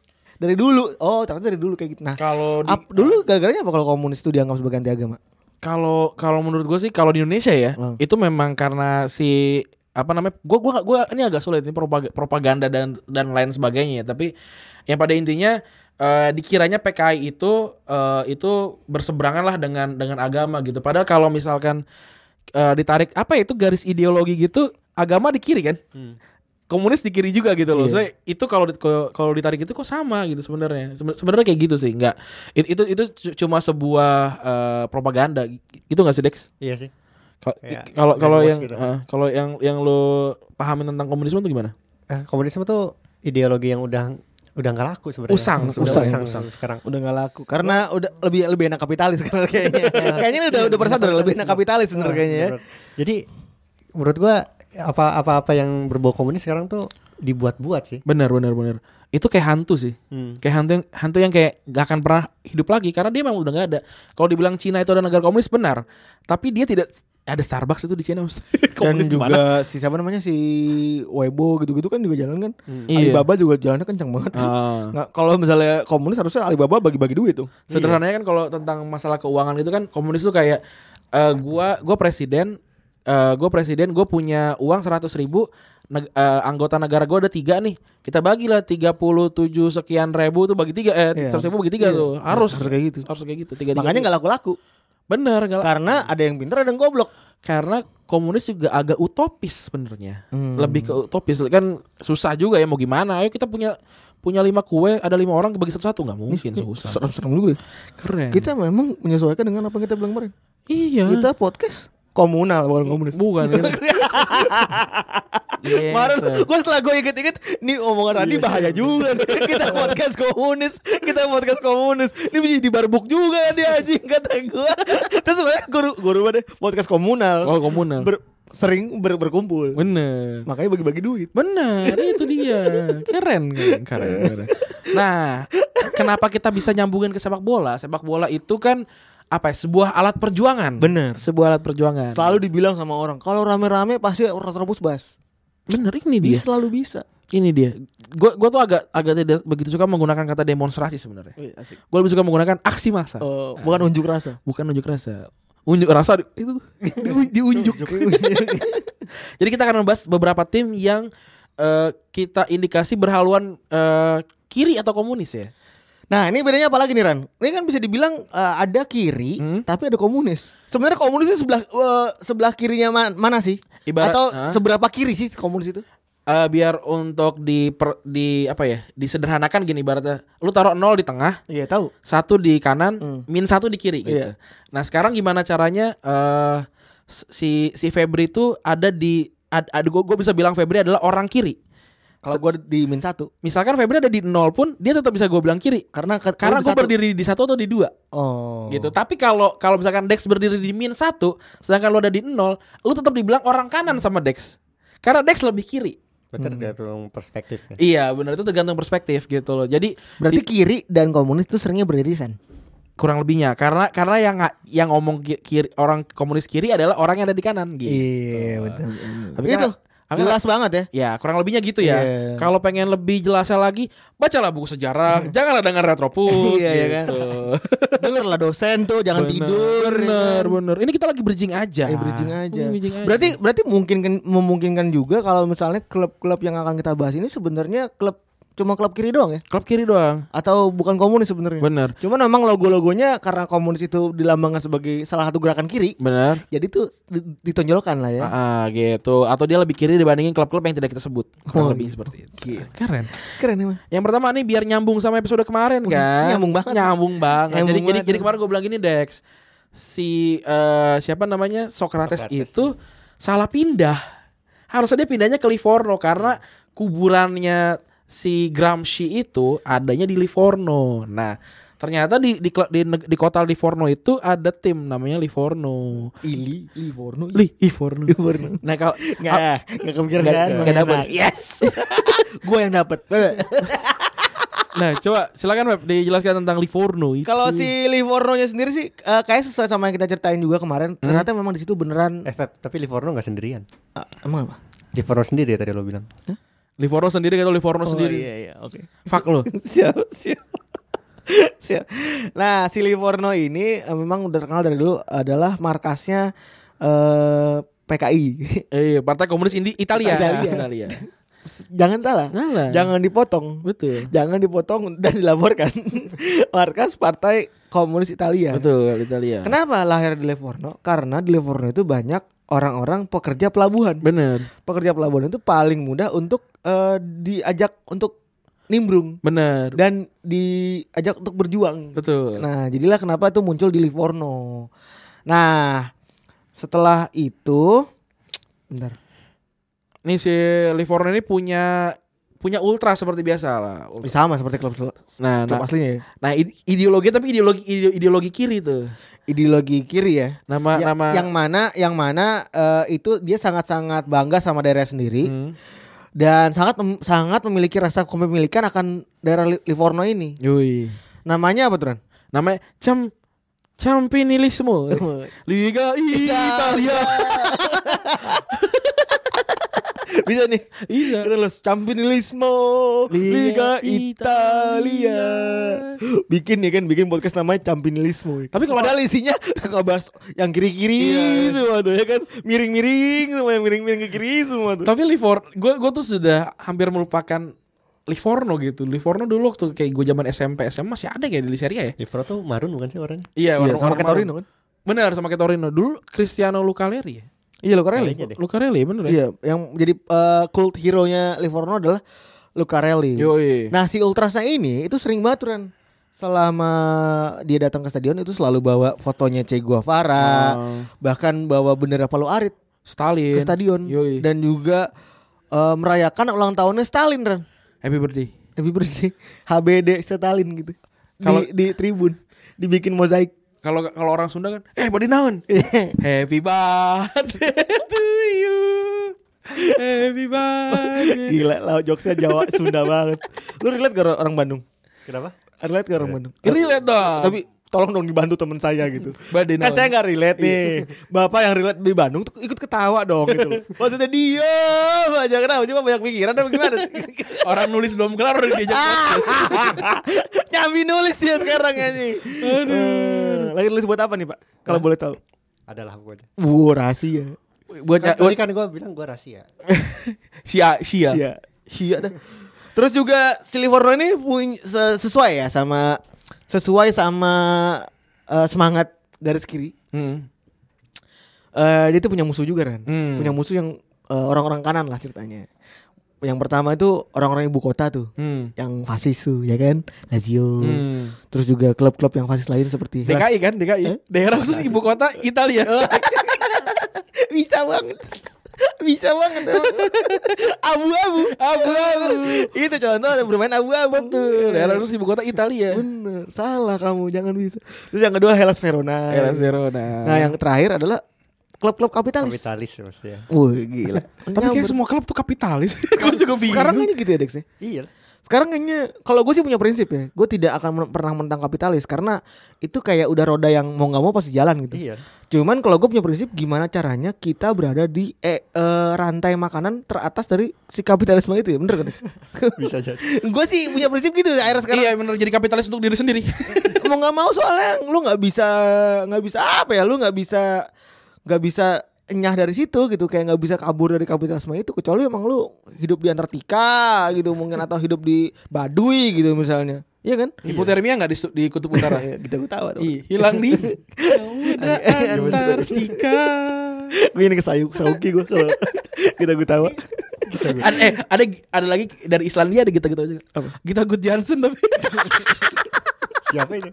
Dari dulu. Oh, ternyata dari dulu kayak gitu. Nah,
Kalau di-
ap- dulu gara-garanya apa kalau komunis itu dianggap sebagai anti agama?
Kalau kalau menurut gue sih kalau di Indonesia ya
Hmm.
itu memang karena si apa namanya gue gua gua ini agak sulit ini propaga- propaganda dan dan lain sebagainya ya tapi yang pada intinya eh, dikiranya PKI itu eh, itu berseberangan lah dengan dengan agama gitu padahal kalau misalkan eh, ditarik apa ya itu garis ideologi gitu agama di kiri kan komunis di kiri juga gitu loh. Saya itu kalau di- kalau kalau ditarik itu kok sama gitu sebenarnya. Seben- Sebenarnya kayak gitu sih, enggak. Itu itu, itu cu- cuma sebuah eh, propaganda. Itu enggak sih Dex?
iya sih
Kalau
Kayak
kalau kalau
brainwash
yang
gitu.
eh, kalau yang yang lo pahamin tentang komunisme itu gimana?
eh, komunisme tuh ideologi yang udah udah nggak laku sebenarnya
Usang,
udah
usang.
usang, usang sekarang
Udah gak laku karena udah lebih lebih enak kapitalis [laughs] karena kayaknya. kayaknya udah udah persatu lebih enak kapitalis bener kayaknya ya.
Menurut- jadi menurut gua apa apa apa yang berbau komunis sekarang tuh dibuat-buat sih
Benar, benar, benar. Itu kayak hantu sih.
Hmm.
Kayak hantu yang hantu yang kayak gak akan pernah hidup lagi karena dia memang udah gak ada. Kalau dibilang Cina itu adalah negara komunis benar, tapi dia tidak ada Starbucks itu di Cina. Mas.
dan
[laughs] komunis
juga
gimana?
si siapa namanya si Weibo gitu-gitu kan juga jalan kan
Iya.
Alibaba juga jalannya kencang banget
Ah.
[laughs] Nggak, kalau misalnya komunis harusnya Alibaba bagi-bagi duit tuh
Sederhananya kan kalau tentang masalah keuangan gitu kan komunis tuh kayak eh, gua gua presiden eh, gua presiden gue punya uang 100.000 ribu neg- eh, anggota negara gua ada tiga nih kita bagilah 37 sekian ribu tuh bagi tiga eh
Iya.
100.000 ribu bagi tiga
Iya.
tuh harus
Harus kayak gitu.
harus kayak gitu tiga
makanya nggak laku-laku
bener nggak la-
karena ada yang pintar ada yang goblok
karena komunis juga agak utopis sebenarnya
Hmm.
lebih ke utopis kan susah juga ya mau gimana ayo kita punya punya lima kue ada lima orang bagi satu satu nggak
[laughs]
mungkin
Iya,
susah
serem-serem juga ya.
keren
kita memang menyesuaikan dengan apa yang kita bilang kemarin
iya
kita podcast komunal bukan komunis.
Bukan
[laughs]
ini. Iya,
Kemarin
betul. Iya.
gue setelah gue inget-inget Nih omongan Rani bahaya juga nih. [laughs] Kita podcast komunis Kita podcast komunis Ini bisa jadi barbuk juga dia anjing Kata gue [laughs] Terus sebenarnya guru guru mana Podcast komunal
Oh komunal
Ber- Sering ber- berkumpul
Bener
Makanya bagi-bagi duit
Bener itu dia Keren kan Keren, keren. Nah Kenapa kita bisa nyambungin ke sepak bola Sepak bola itu kan Apa ya Sebuah alat perjuangan
Bener.
Sebuah alat perjuangan
Selalu dibilang sama orang kalau rame-rame pasti orang terobos bas.
Bener ini dia
Dia selalu bisa.
Ini dia Gue gua tuh agak agak tidak begitu suka menggunakan kata demonstrasi sebenarnya Gue lebih suka menggunakan aksi massa
Eh, bukan unjuk rasa.
Bukan unjuk rasa Unjuk rasa di- itu di- [laughs] diunjuk Jadi kita akan membahas beberapa tim yang eh, kita indikasi berhaluan eh, kiri atau komunis ya.
Nah ini bedanya apa lagi nih Ran? Ini kan bisa dibilang eh, ada kiri,
Hmm?
tapi ada komunis. Sebenarnya komunis itu sebelah eh, sebelah kirinya man- mana sih?
Ibarat-
Atau
Hah?
seberapa kiri sih komunis itu?
Eh, biar untuk di per- di apa ya disederhanakan gini ibaratnya lu taruh nol di tengah
Iya tahu.
satu di kanan
Hmm.
min satu di kiri
Iya.
gitu nah sekarang gimana caranya eh si si Febri itu ada di ad, ad, gua, gua bisa bilang Febri adalah orang kiri
Kalau gue di min satu,
misalkan Febri ada di nol pun dia tetap bisa gue bilang kiri
karena ke-
karena
di
gue
satu.
berdiri di satu atau di dua
Oh.
gitu tapi kalau kalau misalkan Dex berdiri di min satu sedangkan lu ada di nol lu tetap dibilang orang kanan sama Dex karena Dex lebih kiri
Betul tergantung perspektif ya.
Iya benar itu tergantung perspektif gitu loh. Jadi
Berarti
di-
kiri dan komunis itu seringnya beririsan.
kurang lebihnya karena karena yang nga- yang ngomong ki- kiri, orang komunis kiri adalah orang yang ada di kanan gitu.
Iya betul.
Tapi
Itu
karena-
jelas banget
[laughs]
ya.
Ya kurang lebihnya gitu ya.
Iya.
Kalau pengen lebih jelasnya lagi bacalah buku [laughs] sejarah. janganlah dengar retropus.
Iya, iya kan?
gitu. [laughs]
Dengar lah dosen tuh jangan
Bener,
tidur. ya
Bener
kan?
bener. Ini kita lagi bridging aja.
Eh, bridging aja.
Ini iya bridging aja.
Berarti berarti mungkin memungkinkan juga kalau misalnya klub-klub yang akan kita bahas ini sebenarnya klub cuma klub kiri doang ya
klub kiri doang.
atau bukan komunis sebenarnya.
Bener
Cuman memang logo-logonya karena komunis itu dilambangkan sebagai salah satu gerakan kiri.
bener.
Jadi tuh di- ditonjolkan lah ya.
Ah, ah, gitu. Atau dia lebih kiri dibandingin klub-klub yang tidak kita sebut.
Oh,
Kurang lebih
gitu.
seperti itu. Keren.
Keren emang.
Yang pertama nih biar nyambung sama episode kemarin kan.
Oh, nyambung banget.
Nyambung banget.
Nyambung
jadi, jadi
banget.
jadi kemarin gue bilang gini Dex. Si eh, siapa namanya Socrates,
Socrates.
itu salah pindah. Harusnya dia pindahnya ke Livorno karena kuburannya si Gramsci itu adanya di Livorno. Nah, ternyata di di kla- di, neg- di kota Livorno itu ada tim namanya Livorno.
Ili Livorno.
Li Livorno. Nah,
[laughs]
kalau
Enggak, enggak kepikiran
Nggak-
kan.
nggak dapet.
Enak.
Gitu.
Yes. [laughs] gua yang dapat.
nah coba silakan Web dijelaskan tentang Livorno itu.
Kalau si Livorno-nya sendiri sih eh, kayak sesuai sama yang kita ceritain juga kemarin.
Hmm?
Ternyata memang di situ beneran
Eh, Feb, tapi Livorno nggak sendirian.
Ah, emang apa?
Livorno sendiri ya tadi lo bilang.
Livorno sendiri atau Livorno sendiri.
iya iya, oke.
Fuck lo.
[laughs] siap siap [laughs] siap nah si Livorno ini eh, memang udah terkenal dari dulu adalah markasnya eh, PKI
Eh, Partai Komunis Indi Italia.
Italia. [laughs] jangan salah
Salah.
jangan dipotong
Betul.
jangan dipotong dan dilaporkan [laughs] markas Partai Komunis Italia
Betul, Italia.
kenapa lahir di Livorno karena di Livorno itu banyak orang-orang pekerja pelabuhan
Bener,
pekerja pelabuhan itu paling mudah untuk eh, diajak untuk nimbrung
bener.
dan diajak untuk berjuang
Betul.
Nah, jadilah kenapa itu muncul di Livorno. Nah, setelah itu bentar.
Nih si Livorno ini punya punya ultra seperti biasa lah. Ultra.
Sama seperti klub klub
Nah, nah,
aslinya ya.
nah ide- ideologi tapi ideologi ide- ideologi kiri tuh.
Ideologi kiri ya.
Nama
Ya-
nama
Yang mana yang mana eh, itu dia sangat-sangat bangga sama daerah sendiri
Hmm.
dan sangat mem- sangat memiliki rasa kepemilikan akan daerah Li- Livorno ini.
Yui.
Namanya apa tuh? Ran?
Namanya Cam
[laughs]
Campinilismo. Liga Italia.
Bisa nih.
Iya.
Kita los Campinilismo Liga Italia. Bikin ya kan bikin podcast namanya Campinilismo.
Tapi kalau-
padahal isinya [laughs] nggak bahas yang kiri-kiri semua tuh ya kan miring-miring semua yang miring-miring ke kiri semua tuh.
Tapi Livorno, gue gue tuh sudah hampir melupakan Livorno gitu. Livorno dulu waktu kayak gue zaman SMP SMA masih ada kayak di Serie A ya.
Livorno tuh marun bukan sih orangnya?
Iya,
Iya, sama kayak Torino kan.
Bener sama kayak Torino. Dulu Cristiano Lucarelli ya.
Iya Lucarelli.
Kayaknya deh.
Lucarelli bener ya?
Iya, yang jadi eh, cult hero-nya Livorno adalah Lucarelli.
Yoi.
Nah, si Ultrasnya ini itu sering banget tuh, Ren. selama dia datang ke stadion itu selalu bawa fotonya Che Guevara,
Oh.
bahkan bawa bendera Palu Arit
Stalin.
ke stadion
Yoi.
dan juga eh, merayakan ulang tahunnya Stalin Ren.
Happy birthday.
Happy birthday HBD Stalin gitu.
Kalau-
di, di tribun dibikin mozaik.
Kalau kalau orang Sunda kan, eh
[laughs]
body naon? Happy birthday [laughs] to you. Happy birthday.
Gila lah jokesnya Jawa [laughs] Sunda banget. Lu relate gak orang Bandung?
Kenapa?
Relate gak orang Bandung? Eh,
Relate dong.
Iya. Tapi tolong dong dibantu teman saya gitu.
Badai
kan
naon.
saya nggak relate nih. Bapak yang relate di Bandung tuh ikut ketawa dong gitu. [laughs] loh. Maksudnya diam aja kenapa cuma banyak pikiran apa gimana? [laughs] sih?
orang nulis belum kelar udah diajak
Ah. [laughs]
podcast.
Nyambi nulis dia sekarang ya, anjing. Aduh. Lagi nulis buat apa nih, Pak? Kalau boleh tahu.
Adalah aku aja.
Wow, rahasia.
Buat
Kan,
nya-
tadi kan gue bilang gue rahasia.
sia
Sia.
sia.
Ya. Sia dah. Terus juga Silivorno ini punya se- sesuai ya sama sesuai sama eh, semangat garis kiri.
Hmm.
Eh, dia tuh punya musuh juga kan.
Hmm.
Punya musuh yang eh, orang-orang kanan lah ceritanya. Yang pertama itu orang-orang ibu kota tuh.
Hmm.
Yang fasis tuh ya kan. Lazio.
Hmm.
Terus juga klub-klub yang fasis lain seperti
DKI kan DKI daerah khusus ibu kota [laughs] Italia
bisa banget bisa banget emang. abu-abu abu-abu itu contoh bermain abu-abu
betul daerah khusus ibu kota Italia
bener salah kamu jangan bisa terus yang kedua Hellas Verona
Hellas Verona
nah yang terakhir adalah klub-klub kapitalis
Kapitalis ya maksudnya.
Wah gila
tapi kayak semua klub tuh [laughs] kapitalis gue juga bingung
sekarang kayaknya gitu ya Dex ya?
Iya. lah.
sekarang kayaknya kalau gue sih punya prinsip ya gue tidak akan men- pernah mentang kapitalis karena itu kayak udah roda yang mau nggak mau pasti jalan gitu
Iya.
Cuman kalau gue punya prinsip gimana caranya kita berada di eh, eh, rantai makanan teratas dari si kapitalisme itu ya bener kan?
Bisa jadi.
gue sih punya prinsip gitu akhirnya sekarang
iya bener jadi kapitalis untuk diri sendiri
mau nggak mau soalnya lu nggak bisa nggak bisa apa ya lu nggak bisa nggak bisa nyah dari situ gitu kayak nggak bisa kabur dari kapitalisme itu kecuali emang lu hidup di Antartika gitu mungkin atau hidup di Baduy gitu misalnya iya kan Eh,
hipotermia nggak di, di kutub utara
kita ketawa dong
Iya, hilang di [laughs] Samudra Antartika
gue ini kesayuk sauki gue kalau [laughs] kita ketawa
Ad- eh ada ada lagi dari Islandia ada gitu gitu juga
Apa?
kita Good Johnson [laughs] tapi
Siapa ini?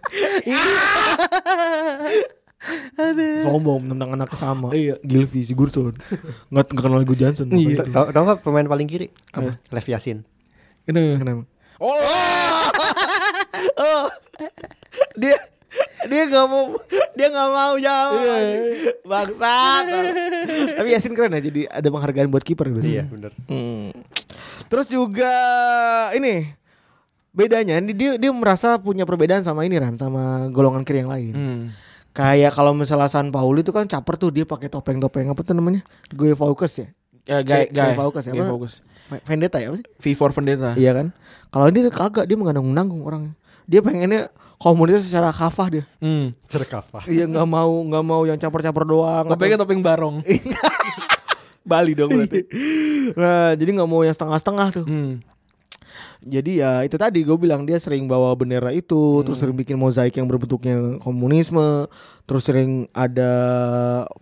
sombong menentang anaknya sama
Iya.
Gilvi Sigurdsson nggak nggak kenal gue Johnson
Iya.
Tau tau nggak pemain paling kiri? Apa? Lev Yasin.
Kenapa?
kenapa
oh
oh dia dia nggak mau dia nggak mau jawab bangsat Iya, tapi Yasin keren ya jadi ada penghargaan buat kiper
Iya
biasanya
benar.
Hmm. terus juga ini bedanya ini dia dia merasa punya perbedaan sama ini Ran sama golongan kiri yang lain
Hmm.
kayak kalau misalnya San Pauli itu kan caper tuh dia pakai topeng-topeng apa tuh namanya gue Faucus ya
Ya, gay,
Gay- gay
gay,
focus ya,
Gay
apa?
focus.
V- Vendetta ya apa sih?
V for Vendetta.
Iya kan? Kalau dia kagak dia menanggung-nanggung orang. Dia pengennya komunitas secara kafah dia.
Hmm.
Cerkapa.
Iya nggak mau nggak mau yang caper-caper doang.
Topengnya topeng barong.
Bali dong berarti. [laughs] nah, jadi nggak mau yang setengah-setengah tuh.
Hmm.
Jadi ya itu tadi gue bilang dia sering bawa bendera itu, terus sering bikin mozaik yang berbentuknya komunisme, terus sering ada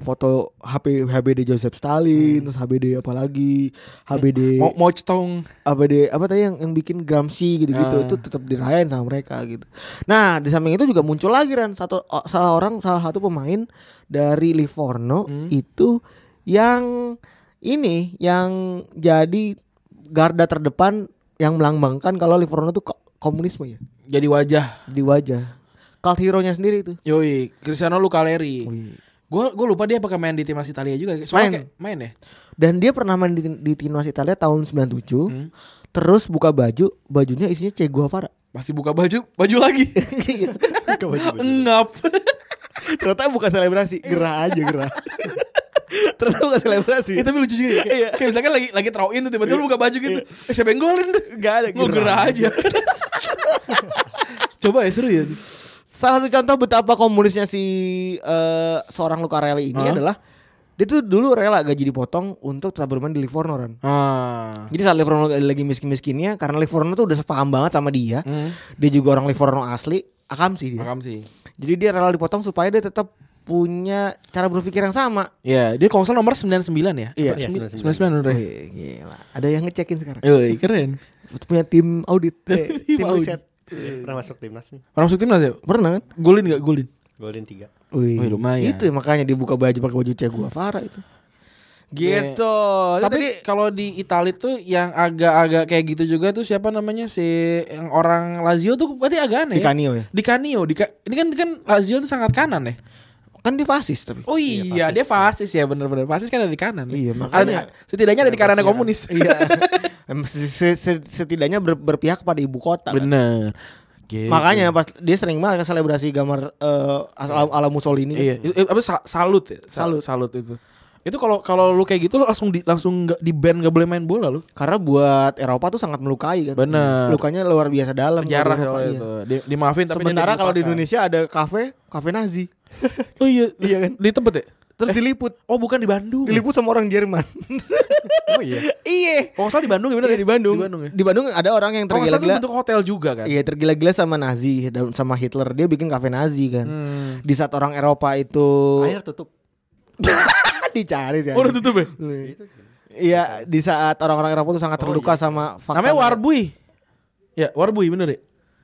foto HP HBD Joseph Stalin, terus HBD apa lagi, HBD
Mau mau cetong.
apa deh apa tadi yang yang bikin Gramsci gitu-gitu
Ah.
itu tetap dirayain sama mereka gitu. Nah, di samping itu juga muncul lagi kan satu o- salah orang salah satu pemain dari Livorno
Hmm.
itu yang ini yang jadi garda terdepan yang melambangkan kalau Livorno itu ko- komunisme ya
Jadi wajah.
di wajah. Cult hero-nya sendiri itu.
Yoi, Cristiano Lucaleri.
Wih.
Gue gue lupa dia apakah main di timnas Italia juga.
Main.
Soalnya main. Kayak, main ya.
Dan dia pernah main di, di timnas Italia tahun 97.
Hmm.
Terus buka baju, bajunya isinya Che Guevara.
Pasti buka baju, baju lagi.
Iya.
Engap.
Ternyata bukan selebrasi, gerah aja gerah. Ternyata bukan selebrasi.
Itu tapi lucu juga. Ya. Kayak, kayak misalkan lagi lagi throw in tuh tiba-tiba lu buka baju gitu. Eh, siapa yang golin tuh?
Iya. Nggak ada,
Mau
gerah.
gerah
[laughs]
aja. Coba ya seru ya.
salah satu contoh betapa komunisnya si eh, seorang Lucarelli ini
Hah?
adalah dia tuh dulu rela gaji dipotong untuk tetap bermain di Livorno kan.
Ah.
Jadi saat Livorno lagi miskin-miskinnya karena Livorno tuh udah sepaham banget sama dia.
Hmm.
Dia juga orang Livorno asli, akam sih dia.
Makam sih.
Jadi dia rela dipotong supaya dia tetap punya cara berpikir yang sama.
Iya, dia kalau nggak salah nomor 99 ya.
Iya.
Apa,
Iya,
sembi-
99.
99 udah.
Wih, gila. Ada yang ngecekin sekarang.
Yoi, keren.
[laughs] Punya tim audit, eh, tim,
Tim audit.
riset.
Pernah masuk timnas nih.
Orang masuk timnas ya?
Pernah kan?
Golin gak golin?
Golin 3.
Wih,
Wih, lumayan.
Itu ya, makanya dibuka baju pakai baju Che Guevara itu. Gitu. Itu
Tapi iya.
tadi-
kalau di Italia tuh yang agak-agak kayak gitu juga tuh siapa namanya si yang orang Lazio tuh berarti agak
Di
aneh.
Canio ya?
Di Canio, di Ka- ini kan kan Lazio tuh sangat kanan ya.
kan dia fasis tapi.
Oh iya, dia fasis ya bener-bener. Fasis kan ada di kanan.
Iya,
Ada-
makanya.
setidaknya ada di kanan komunis.
iya. Em, se- se- se- Setidaknya ber- berpihak pada ibu kota. kan?
[laughs] Bener. Gitu.
Makanya pas dia sering banget kan selebrasi gambar eh, asal ala Mussolini. kan.
Iya, itu- itu apa sa- salut ya? Sa-
Salut.
salut itu. Itu kalau kalau lu kayak gitu lu langsung di langsung nggak di ban gak boleh main bola lu.
Karena buat Eropa tuh sangat melukai kan.
Bener.
Lukanya luar biasa dalam.
Sejarah
kalau di
kalau
Eropa,
itu.
iya.
Di, dimaafin tapi dia
Sementara kalau di
dilupakan.
Indonesia ada kafe, kafe Nazi.
Oh iya, iya kan? Di tempat ya?
Terus diliput.
Oh bukan di Bandung.
Diliput sama orang Jerman.
Oh iya.
iya.
Kalau nggak salah di Bandung ya bener
Iya,
ya?
di Bandung.
Di Bandung ya.
Di Bandung ada orang yang
Kalau nggak salah itu
tergila-gila.
bentuk hotel juga kan.
Iya tergila-gila sama Nazi dan sama Hitler dia bikin kafe Nazi kan.
Hmm.
Di saat orang Eropa itu
Akhir tutup.
[laughs] dicari sih.
Oh, udah tutup ya?
Itu.
Iya di saat orang-orang Eropa itu sangat terluka sama fakta.
Oh, iya. Namanya Warbui. Ya, Warbui bener ya?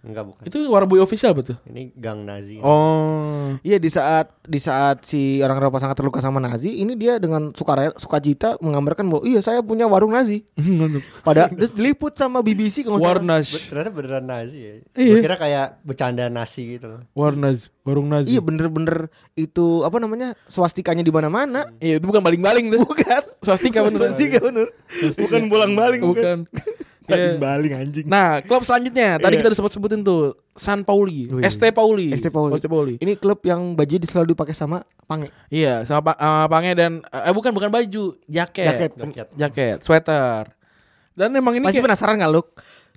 Enggak bukan.
Itu Warbui official betul.
Ini gang Nazi.
Oh.
Iya di saat di saat si orang Eropa sangat terluka sama Nazi, ini dia dengan suka sukacita menggambarkan bahwa iya saya punya warung Nazi.
[laughs]
Pada terus diliput sama BBC kalau nggak salah.
Warnas.
Ternyata beneran Nazi ya.
Iya.
Gua kira kayak bercanda nasi gitu loh.
Warnas, warung Nazi.
Iya bener-bener itu apa namanya swastikanya di mana-mana.
Iya, itu bukan baling-baling tuh. Bukan. Swastika bener.
Swastika bener. Bukan bolang-baling.
Bukan. [laughs] Iya.
Baling anjing.
Nah, klub selanjutnya
Iya.
tadi kita udah sempat sebutin tuh San Pauli,
Wih.
ST Pauli.
ST Oh, iya. Pauli.
ST Pauli.
Ini klub yang baju di- selalu dipakai sama Pange.
Iya, sama pa- eh, pange dan eh bukan bukan baju,
Jaket.
jaket.
Jaket.
Jaket, sweater. Dan emang ini
Masih
kayak-
penasaran nggak lu?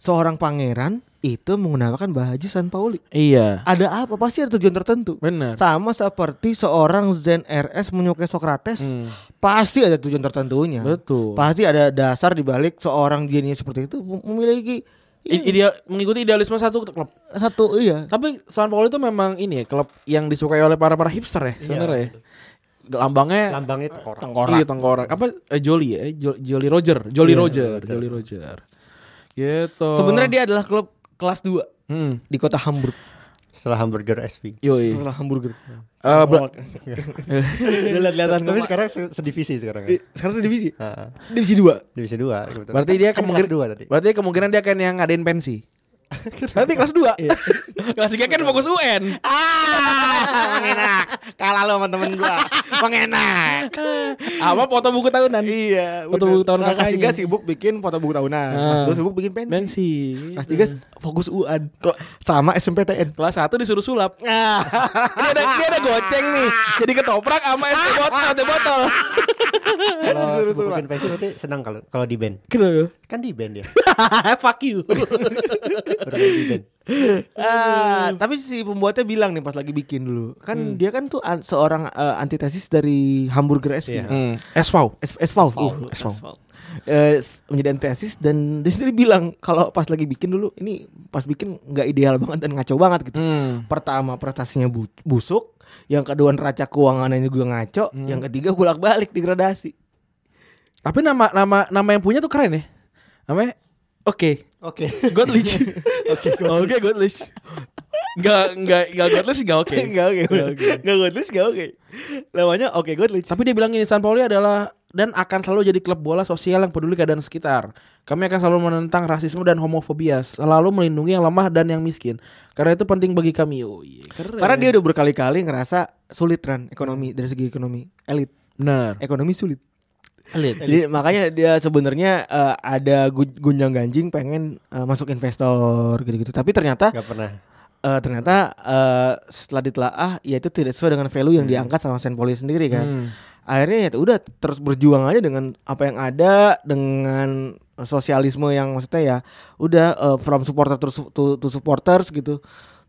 Seorang pangeran itu menggunakan baju San Pauli.
Iya.
Ada apa? Pasti ada tujuan tertentu.
Benar.
Sama seperti seorang Zen RS menyukai Sokrates, pasti ada tujuan tertentunya.
Betul.
Pasti ada dasar dibalik seorang jenius seperti itu mem- memiliki iya, Hmm.
I- ideal mengikuti idealisme satu klub.
satu iya.
Tapi San Paulo itu memang ini ya, klub yang disukai oleh para para hipster ya sebenarnya. ya. Lambangnya
Lambangnya tengkorak.
tengkorak. Iya tengkorak. Apa eh, Jolly ya? Eh, Jo- Jolly Roger, Jolly Roger, Jolly Roger. Gitu.
Oh. Sebenarnya dia adalah klub kelas 2
hmm.
di kota Hamburg.
Setelah hamburger SV.
Yoi.
Setelah hamburger. Oh,
Eh, Bra-
Lihat-lihatan
Tapi sekarang se- sedivisi sekarang. ya.
sekarang divisi.
Heeh.
Divisi 2.
Divisi 2 kebetulan.
Berarti dia
Kan
kemungkinan
kelas dua
[laughs]
tadi.
Berarti kemungkinan dia akan yang ngadain pensi. Nanti kelas 2. [laughs] kelas 3 kan fokus UN.
Ah, mengenak. Kalah lu sama temen gua. Mengenak.
Apa foto buku tahunan.
Iya,
Foto
udah.
buku tahunan
Kelas
kakaknya.
3 sibuk bikin foto buku tahunan.
Ah. Hmm.
Kelas 2 sibuk bikin pensi.
Pensi.
Kelas 3 fokus UAN kok sama SMPTN.
Kelas 1 disuruh sulap. [laughs] ini ada ini ada goceng nih. Jadi ketoprak sama es teh botol, teh botol.
Kalau sebutin pensi berarti senang kalau kalau di band.
Kenapa?
Kan di band dia.
[laughs] Fuck you.
Bermain di band.
Ah, tapi si pembuatnya bilang nih pas lagi bikin dulu.
Hmm.
Kan dia kan tuh an- seorang eh, antitesis dari hamburger SV.
Iya.
Hmm, SV.
S- SVAL. Uh, SVAL. Eh, s- menjadi antitesis dan dia sendiri bilang kalau pas lagi bikin dulu ini pas bikin nggak ideal banget dan ngaco banget gitu.
Hmm.
Pertama prestasinya bu- busuk, yang kedua neraca keuangannya juga ngaco,
Hmm.
yang ketiga bolak-balik degradasi.
Iya, Tapi nama nama nama yang punya tuh keren ya. Namanya Oke.
Oke. [laughs]
Godlich. [laughs] Oke,
Oh,
Oke, Godlich. Enggak enggak enggak Godlich enggak [laughs] oke.
Enggak oke. Enggak godless enggak oke. Namanya oke godless.
Tapi dia bilang ini San Pauli adalah dan akan selalu jadi klub bola sosial yang peduli keadaan sekitar. Kami akan selalu menentang rasisme dan homofobia, selalu melindungi yang lemah dan yang miskin. Karena itu penting bagi kami. Oh, iya, keren.
Karena dia udah berkali-kali ngerasa sulit Ran ekonomi dari segi ekonomi elit.
benar.
Ekonomi sulit.
Elit.
Jadi makanya dia sebenarnya eh, ada gu- gunjang-ganjing pengen eh, masuk investor gitu-gitu. Tapi ternyata
Gak pernah.
eh, ternyata eh, setelah ditelaah ya itu tidak sesuai dengan value
Hmm.
yang diangkat sama Saint Pauli sendiri kan. Akhirnya ya udah terus berjuang aja dengan apa yang ada dengan sosialisme yang maksudnya ya udah eh, from supporter to, su- to- to supporters gitu.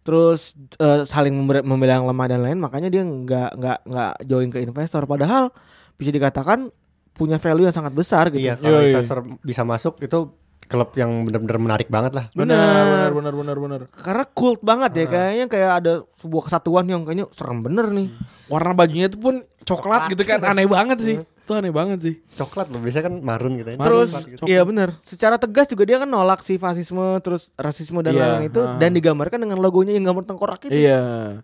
Terus eh, saling member- membela yang lemah dan lain makanya dia nggak nggak nggak join ke investor padahal bisa dikatakan punya value yang sangat besar gitu.
Iya, kalau
Yoi.
investor bisa masuk itu klub yang benar-benar menarik banget lah.
Benar, Ah. benar, benar, benar.
Karena cult banget ya kayaknya kayak ada
Hmm.
sebuah kesatuan yang kayaknya serem bener nih.
Warna bajunya itu pun coklat gitu kan aneh banget sih. Itu aneh banget sih.
Coklat loh, biasanya kan marun gitu ya.
Marun,
Terus
Coklat gitu.
iya benar. Secara tegas juga dia kan nolak si fasisme terus rasisme dan
Iya,
lain-lain itu
ha.
dan digambarkan dengan logonya yang gambar tengkorak itu.
Iya.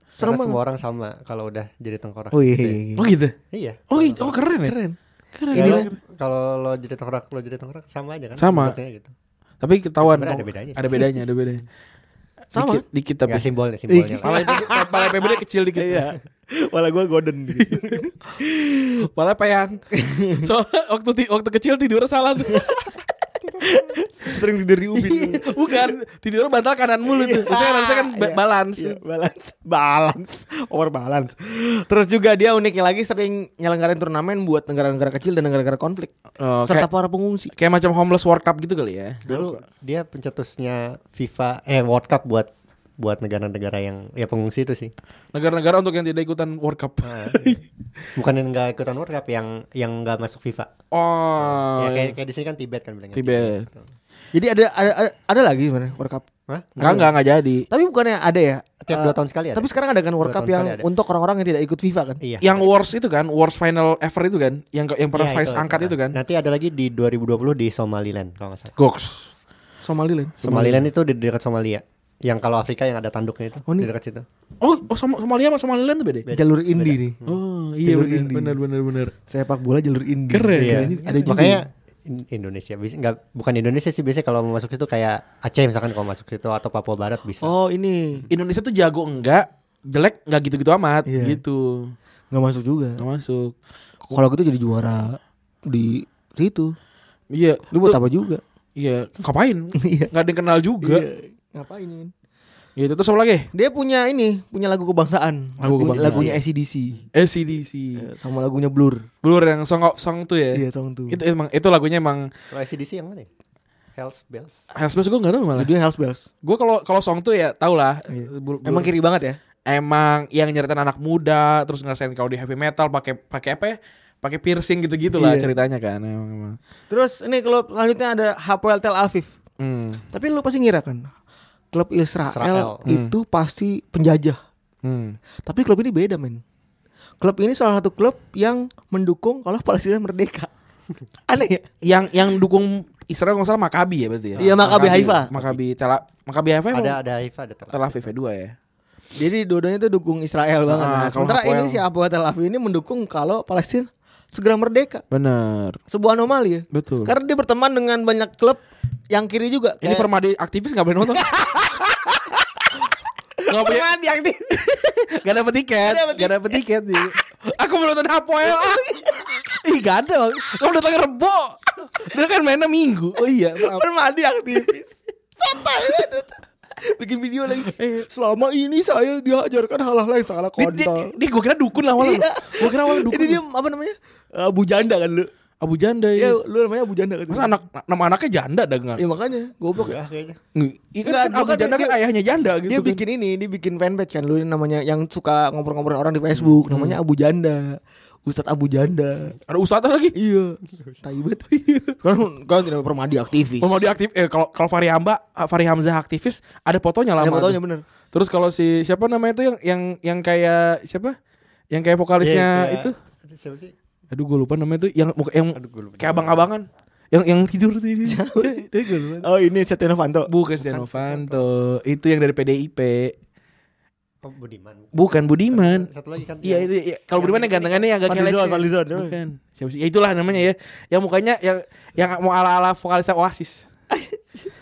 Serem
Karena
banget.
semua orang sama kalau udah jadi tengkorak.
Oh iya.
gitu ya.
Oh iya, gitu.
Iya.
Oh, i- oh keren ya.
Keren.
Keren.
Ya,
keren.
lo- kalau lo jadi tengkorak, lo jadi tengkorak sama aja kan?
Sama.
bentuknya gitu.
Tapi ketahuan.
Sebenarnya ada
dong.
bedanya sih.
Ada bedanya, ada bedanya.
Sama.
Dikit, dikit tapi.
Nggak, simbolnya, simbolnya. lah.
Pala pala PBD kecil dikit. Iya.
Malah gue golden gitu.
Pala peyang. Soalnya waktu ti- waktu kecil tidur salah tuh.
Sering tidur di ubin.
Iya, Bukan tidur bantal kanan mulu tuh. Saya harusnya kan ba- balance.
Iya, balance, balance, over balance.
Terus juga dia uniknya lagi sering nyelenggarain turnamen buat negara-negara kecil dan negara-negara konflik
Oh,
serta
kayak,
para pengungsi.
kayak macam homeless World Cup gitu kali ya.
Dulu dia pencetusnya FIFA eh World Cup buat buat negara-negara yang ya pengungsi itu sih.
Negara-negara untuk yang tidak ikutan World Cup.
Ah, iya.
Bukan yang nggak ikutan World Cup yang yang nggak masuk FIFA.
[laughs] oh.
ya, kayak,
iya.
kayak di sini kan Tibet kan bilangnya.
Tibet.
Jadi ada ada ada, ada lagi sebenarnya World Cup.
Hah?
Enggak, enggak, enggak jadi.
Tapi bukannya ada ya?
Tiap
eh,
dua tahun sekali ada.
Tapi sekarang ada kan World
Dua
Cup
tahun
yang
sekali ada.
untuk orang-orang yang tidak ikut FIFA kan?
Iya.
Yang worst itu kan, worst final ever itu kan, yang yang pernah
Ya,
Iya,
Vice
itu,
angkat itu kan.
Nanti ada lagi di 2020 di Somaliland kalau nggak salah.
Goks.
Somaliland.
Somaliland itu di dekat Somalia. Yang kalau Afrika yang ada tanduknya itu
Oh,
di
ini-
dekat situ.
Oh, oh Som- Somalia sama Somaliland tuh beda.
Beda.
Jalur indie nih.
Oh, iya
Jalur
benar
indie.
benar benar benar.
Sepak bola jalur indie.
Keren.
Iya.
Keren juga. Ada juga.
Makanya In- Indonesia bisa nggak bukan Indonesia sih biasanya kalau mau masuk situ kayak Aceh misalkan kalau masuk situ atau Papua Barat bisa.
Oh ini
Indonesia tuh jago enggak, jelek enggak gitu-gitu amat
Iya.
gitu.
nggak masuk juga.
Enggak masuk.
Kalau gitu jadi juara di situ.
Iya,
Lu buat apa juga?
Iya,
[laughs]
ngapain? Enggak ada yang kenal juga.
Iya. Ngapain ini?
Gitu terus apa lagi?
Dia punya ini, punya lagu kebangsaan.
Lagu kebangsaan.
Lagunya ACDC
ACDC.
eh, sama lagunya Blur.
Blur yang song of song tuh ya.
Iya, song tuh.
Itu emang itu lagunya emang
Kalau ACDC yang mana? ya? Hells Bells.
Hells Bells gue gak tau malah
Judulnya Hells Bells.
Gue kalau kalau song tuh ya tau lah Blur-
Emang
Blur-
kiri banget ya?
emang yang nyeritain anak muda terus ngerasain kalau di heavy metal pakai pakai apa ya pakai piercing gitu-gitu lah
Iya.
ceritanya kan emang emang
Terus ini klub selanjutnya ada Hapoel Tel Aviv.
hmm.
Tapi lu pasti ngira kan klub Israel,
Israel.
itu pasti penjajah.
Hmm.
Tapi klub ini beda, men. Klub ini salah satu klub yang mendukung kalau Palestina merdeka. Aneh ya?
yang yang dukung Israel nggak salah Makabi ya berarti ya
Iya, Maccabi Haifa.
Makabi Tel Makabi Haifa emang
Ada ada Haifa ada Tel
Tel
Aviv.
Aviv ya dua ya
Jadi dua-duanya itu dukung Israel banget.
Ah,
Nah,
kalau
sementara
Hapoel-
ini si Hapoel Tel Aviv ini mendukung kalau Palestina segera merdeka.
bener
Sebuah anomali ya.
betul
Karena dia berteman dengan banyak klub yang kiri juga.
ini
Kayak-
permadi aktivis nggak [laughs] boleh nonton Gak punya Gak dapet tiket Gak dapet tiket Ji. Aku mau nonton Hapoel ah. Ih gak
[laughs]
ada Bang. Kamu datangnya rebo Dia kan mainnya minggu Oh iya maaf
permadi aktivis. Sotai. Bikin video lagi. Selama ini saya diajarkan hal-hal yang salah
Dia, dia, dia gue kira dukun lah awalnya
Iya.
Gue kira awalnya dukun
Ini dia apa namanya? Abu janda kan lu.
Abu Janda
Ya,
ya.
lu namanya Abu janda kan.
Masa anak nama anaknya janda dah enggak?
Ya makanya goblok ya.
Enggak kayaknya.
Iya
Nggak,
kan, kan Abu
bukan,
Janda
dia-
kan ayahnya janda gitu
Dia
kan.
bikin ini, dia bikin fanpage kan lu namanya yang suka ngompor-ngomporin orang di Facebook, namanya Abu Janda. Ustadz Abu Janda.
Ada usata lagi
Iya. Tai banget. [laughs] Sekarang kan tidak permadi aktivis.
Oh, mau diaktif eh kalau kalau Fahri Hamba ah, Fahri Hamzah aktivis ada fotonya lah.
Ada
sama
fotonya
tuh.
bener.
Terus kalau si siapa namanya itu yang yang yang kayak siapa? Yang kayak vokalisnya
Iya, iya.
itu.
Siapa sih?
Aduh gue lupa namanya itu yang muka- yang
Aduh, gue lupa.
kayak abang-abangan. Yang yang tidur tuh ini. Itu gue lupa.
Oh, ini Setia Novanto.
Bukan Setia Novanto. Itu yang dari PDIP.
Oh, Budiman.
Bukan Budiman.
Satu lagi kan.
Iya
yang-
itu ya. kalau Budiman yang gantengannya yang agak ya.
Fadlizon,
lecet.
Fadlizon.
Bukan. Siapa sih? Ya itulah namanya ya. Yang mukanya yang yang mau ala-ala vokalisnya
[laughs]
Oasis.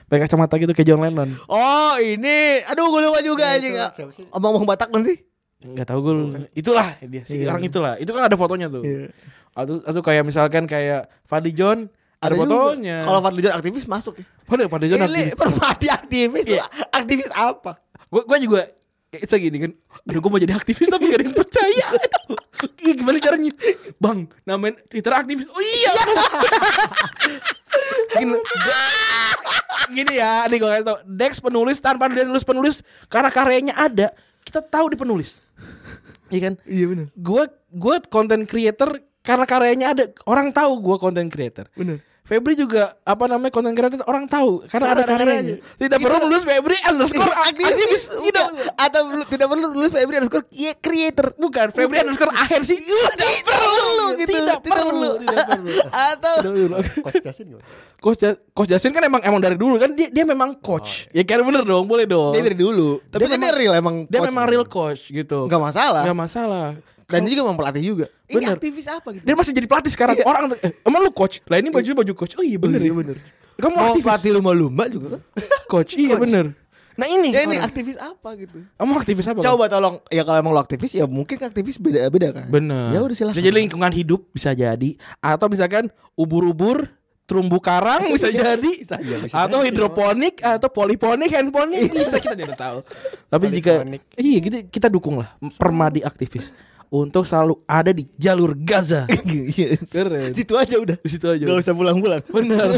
Pakai kacamata gitu kayak John Lennon.
Oh, ini aduh gue lupa juga
Nah,
anjing.
itu siapa sih?
Oh,
Omong-omong Batak kan sih?
Enggak tahu gue. Itulah dia si
Iya.
orang itulah. Itu kan ada fotonya tuh.
Iya.
Atau atau kayak misalkan kayak Fadli John ada,
juga.
fotonya.
Kalau Fadlizon aktivis masuk ya.
Fadli, Fadli John
Ini permadi aktivis tuh
Iya.
aktivis apa?
Gue gue juga It's a gini kan Aduh gue mau jadi aktivis tapi gak ada yang percaya Aduh, Ih, Gimana caranya Bang namain Twitter aktivis Oh iya gini, gua- gini ya Nih gue kasih tau Dex penulis tanpa dia nulis penulis Karena karyanya ada Kita tahu di penulis Iya kan
Iya benar.
Gue gue content creator Karena karyanya ada Orang tahu gue content creator
Benar.
Febri juga apa namanya konten kreator orang tahu karena ada karyanya. Tidak perlu menulis Febri underscore
Iya,
aktivis. Tidak.
atau lu- tidak perlu nulis Febri underscore
iya,
kie- creator
Bukan Febri underscore akhir sih. Tidak
perlu gitu
Tidak perlu. Tidak perlu.
[laughs] atau
Coach Justin gimana?
[laughs] Coach, Ja- Coach Justin kan emang emang dari dulu kan dia dia memang coach. Ya kan bener dong, boleh dong.
dia dari dulu
Tapi
Dia
kan dia
memang-
real emang
Dia
coach.
memang real coach gitu.
Nggak masalah.
Nggak masalah.
Dan dia juga memang pelatih juga.
ini
Bener.
aktivis apa gitu
Dia masih jadi pelatih sekarang. Orang eh, emang lu coach. Lah ini baju baju coach. Oh iya bener. ya. Kamu
Mau
aktivis
pelatih lumba lumba juga kan?
coach. Iya bener. Nah ini.
ya ini
orang.
aktivis apa gitu
Kamu aktivis apa?
Coba tolong ya kalau emang lo aktivis ya mungkin aktivis beda beda kan.
Bener.
Ya udah silakan.
Bisa
[laughs]
jadi lingkungan hidup bisa jadi atau misalkan ubur-ubur terumbu karang Iya, bisa jadi atau hidroponik atau poliponik handponik bisa kita tidak tahu tapi jika
Poliponik.
iya kita kita dukung lah permadi aktivis untuk selalu ada di jalur Gaza keren
Iya.
Iya.
Situ aja udah.
di situ aja
Gak usah
[laughs]
pulang-pulang. Bener.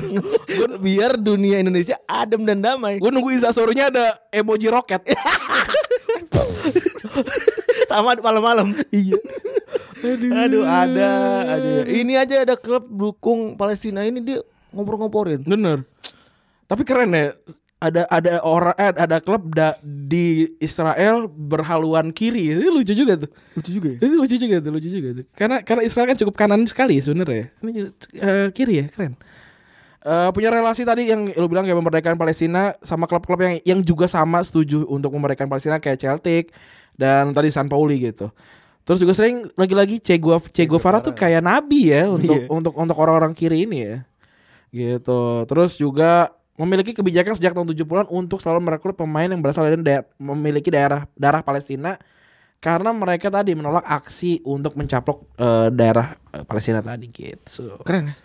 Biar dunia Indonesia adem dan damai.
gue nunggu instastorynya ada emoji roket
Sama malam-malam. Iya. [laughs] Aduh ada, ada. Ini aja ada klub dukung Palestina ini dia ngompor-ngomporin.
Bener. Tapi keren ya. Ada ada orang eh, ada klub da- di Israel berhaluan kiri. Itu lucu juga tuh. Lucu juga.
ya.
Itu lucu juga tuh, lucu juga tuh. Karena karena Israel kan cukup kanan sekali sebenarnya. Ini eh, kiri ya, keren. Eh, punya relasi tadi yang lu bilang kayak memerdekakan Palestina sama klub-klub yang yang juga sama setuju untuk memerdekakan Palestina kayak Celtic dan tadi San Pauli gitu. Terus juga sering lagi-lagi Che Guev- Che Guevara tuh kayak nabi ya untuk untuk untuk orang-orang kiri ini ya. Gitu. Terus juga memiliki kebijakan sejak tahun 70-an untuk selalu merekrut pemain yang berasal dari daer- memiliki daerah daerah Palestina karena mereka tadi menolak aksi untuk mencaplok eh, daerah eh, Palestina tadi gitu.
Keren ya.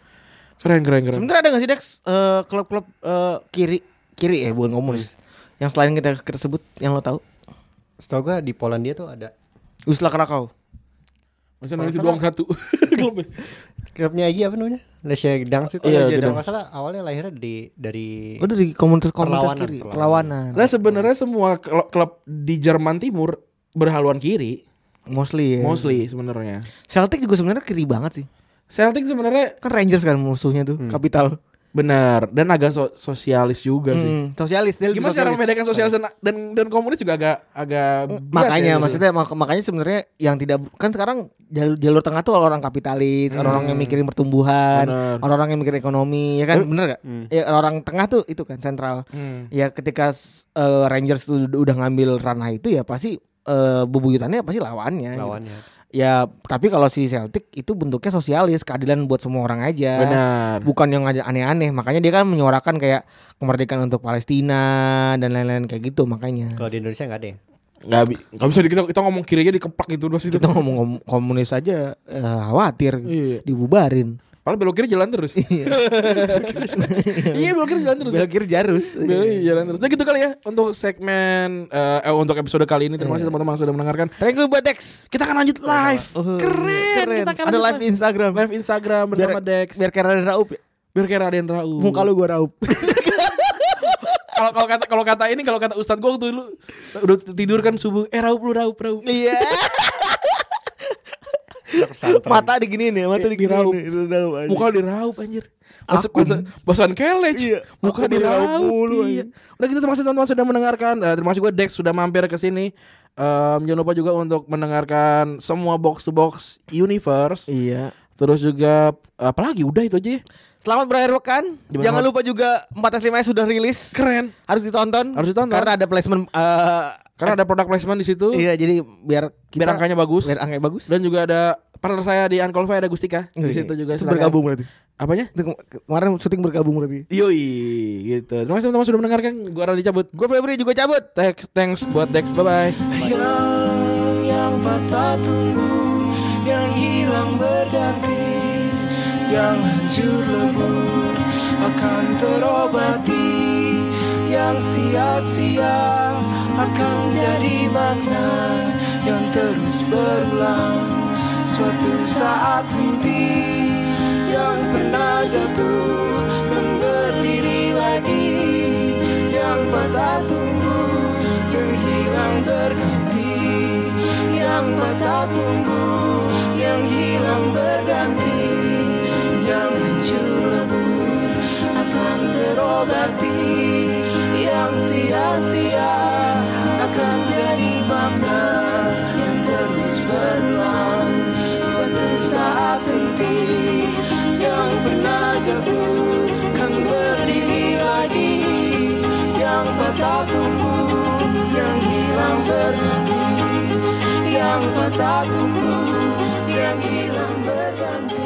Keren keren keren.
Sebenarnya ada gak sih Dex eh, klub-klub eh, kiri kiri ya bukan komunis. Yang selain kita kita sebut yang lo tahu
Setahu gua di Polandia tuh ada
Wisla Krakau.
Masa
Kalau
nanti
salah-
doang satu [laughs] ya. klubnya.
klubnya Egy apa namanya? Lesia Gdansk itu.
Iya,
Lesia
Gdansk.
Kalau nggak salah awalnya lahirnya di dari
Oh dari komunitas komunitas
Perlawanan,
kiri
perlawanan.
perlawanan.
Nah sebenarnya semua kl- klub di Jerman Timur berhaluan kiri,
Mostly ya.
mostly sebenarnya.
Celtic juga sebenarnya kiri banget sih.
Celtic sebenarnya
Kan Rangers kan musuhnya tuh, kapital.
benar dan agak so- sosialis juga sih.
Hmm, sosialis dia lebih
Gimana
sosialis.
cara membedakan sosialis dan dan, dan komunis juga agak agak bias
makanya
ya, gitu.
maksudnya mak- makanya sebenarnya yang tidak kan sekarang jalur, jalur tengah tuh orang kapitalis,
Hmm.
orang-orang yang mikirin pertumbuhan,
Bener.
orang-orang yang mikirin ekonomi, ya kan bener gak?
Hmm.
Ya, orang tengah tuh itu kan sentral.
Eh, Hmm.
Ya ketika s- eh, Rangers tuh ud- udah ngambil ranah itu ya pasti eh, bebuyutannya pasti lawannya. gitu.
lawannya.
Ya tapi kalau si Celtic itu bentuknya sosialis, keadilan buat semua orang aja.
Benar.
bukan yang ada aneh-aneh makanya dia kan menyuarakan kayak kemerdekaan untuk Palestina dan lain-lain kayak gitu makanya
Kalau di Indonesia nggak ada ya.
Nggak bi- nggak bisa di- kita, kita ngomong kiri aja dikeplak gitu terus itu.
kita ngomong ngom- komunis aja eh, khawatir
Iya.
dibubarin
Padahal belok kiri jalan terus. [laughs] Iya belok kiri jalan terus. Belok kiri
jarus
jalan terus. Nah gitu kali ya untuk segmen eh eh, untuk episode kali ini
Iya.
terima kasih teman-teman yang sudah mendengarkan.
thank you buat Dex
Kita akan lanjut live.
Oh,
iya. keren. Kita akan
ada live di Instagram
live Instagram bersama Dex.
biar keren ada Raup ya?
Biar kayak Raden Raul.
Uh. muka lu gua Raup
kalau kalau kata kalau kata ini kalau kata Ustadz gue waktu dulu udah tidur kan subuh eh Raup lu Raup Raup.
[laughs] iya
[laughs]
Kita kesantren.
mata diginiin ya mata diginiin
Raup.
Udah Raup aja.
Muka diraup anjir. Bahasa, bahasa, bahasan kelec. Muka
aku diraup
Iya, diraup.
mulu,
iya. Udah gitu terima kasih teman-teman sudah mendengarkan. Eh, terima kasih gue Dex sudah mampir ke sini. Em, jangan lupa juga untuk mendengarkan semua box to box universe.
iya
Terus juga apalagi udah itu aja. ya.
Selamat berakhir pekan.
Gimana
Jangan
Raup?
lupa juga 4S5 nya sudah rilis.
Keren.
Harus ditonton.
Harus ditonton.
Karena ada placement eh,
Karena ada product placement di situ.
Iya jadi biar
biar angkanya bagus.
biar angkanya bagus Iya.
Dan juga ada partner saya di Uncolvy ada Gustika. Di situ juga
Itu
silakan.
bergabung berarti
Apanya?
Itu kema- kemarin syuting bergabung berarti
Yoi gitu. Terima kasih teman-teman sudah mendengarkan. Gua Randy cabut. Gua Febri juga cabut. Thanks, thanks buat Dex. Bye bye.
Yang yang patah tumbuh, yang hilang berganti, yang hancur lebur akan terobati, yang sia-sia akan jadi makna, yang terus berulang suatu saat henti, yang pernah jatuh kan berdiri lagi, yang patah tumbuh, yang hilang berganti, yang patah tumbuh, yang hilang berganti, yang hancur lebur terobati Yang sia-sia akan jadi makna Yang terus berulang Suatu saat nanti Yang pernah jatuh kan berdiri lagi Yang patah tumbuh yang hilang berganti Yang patah tumbuh yang hilang berganti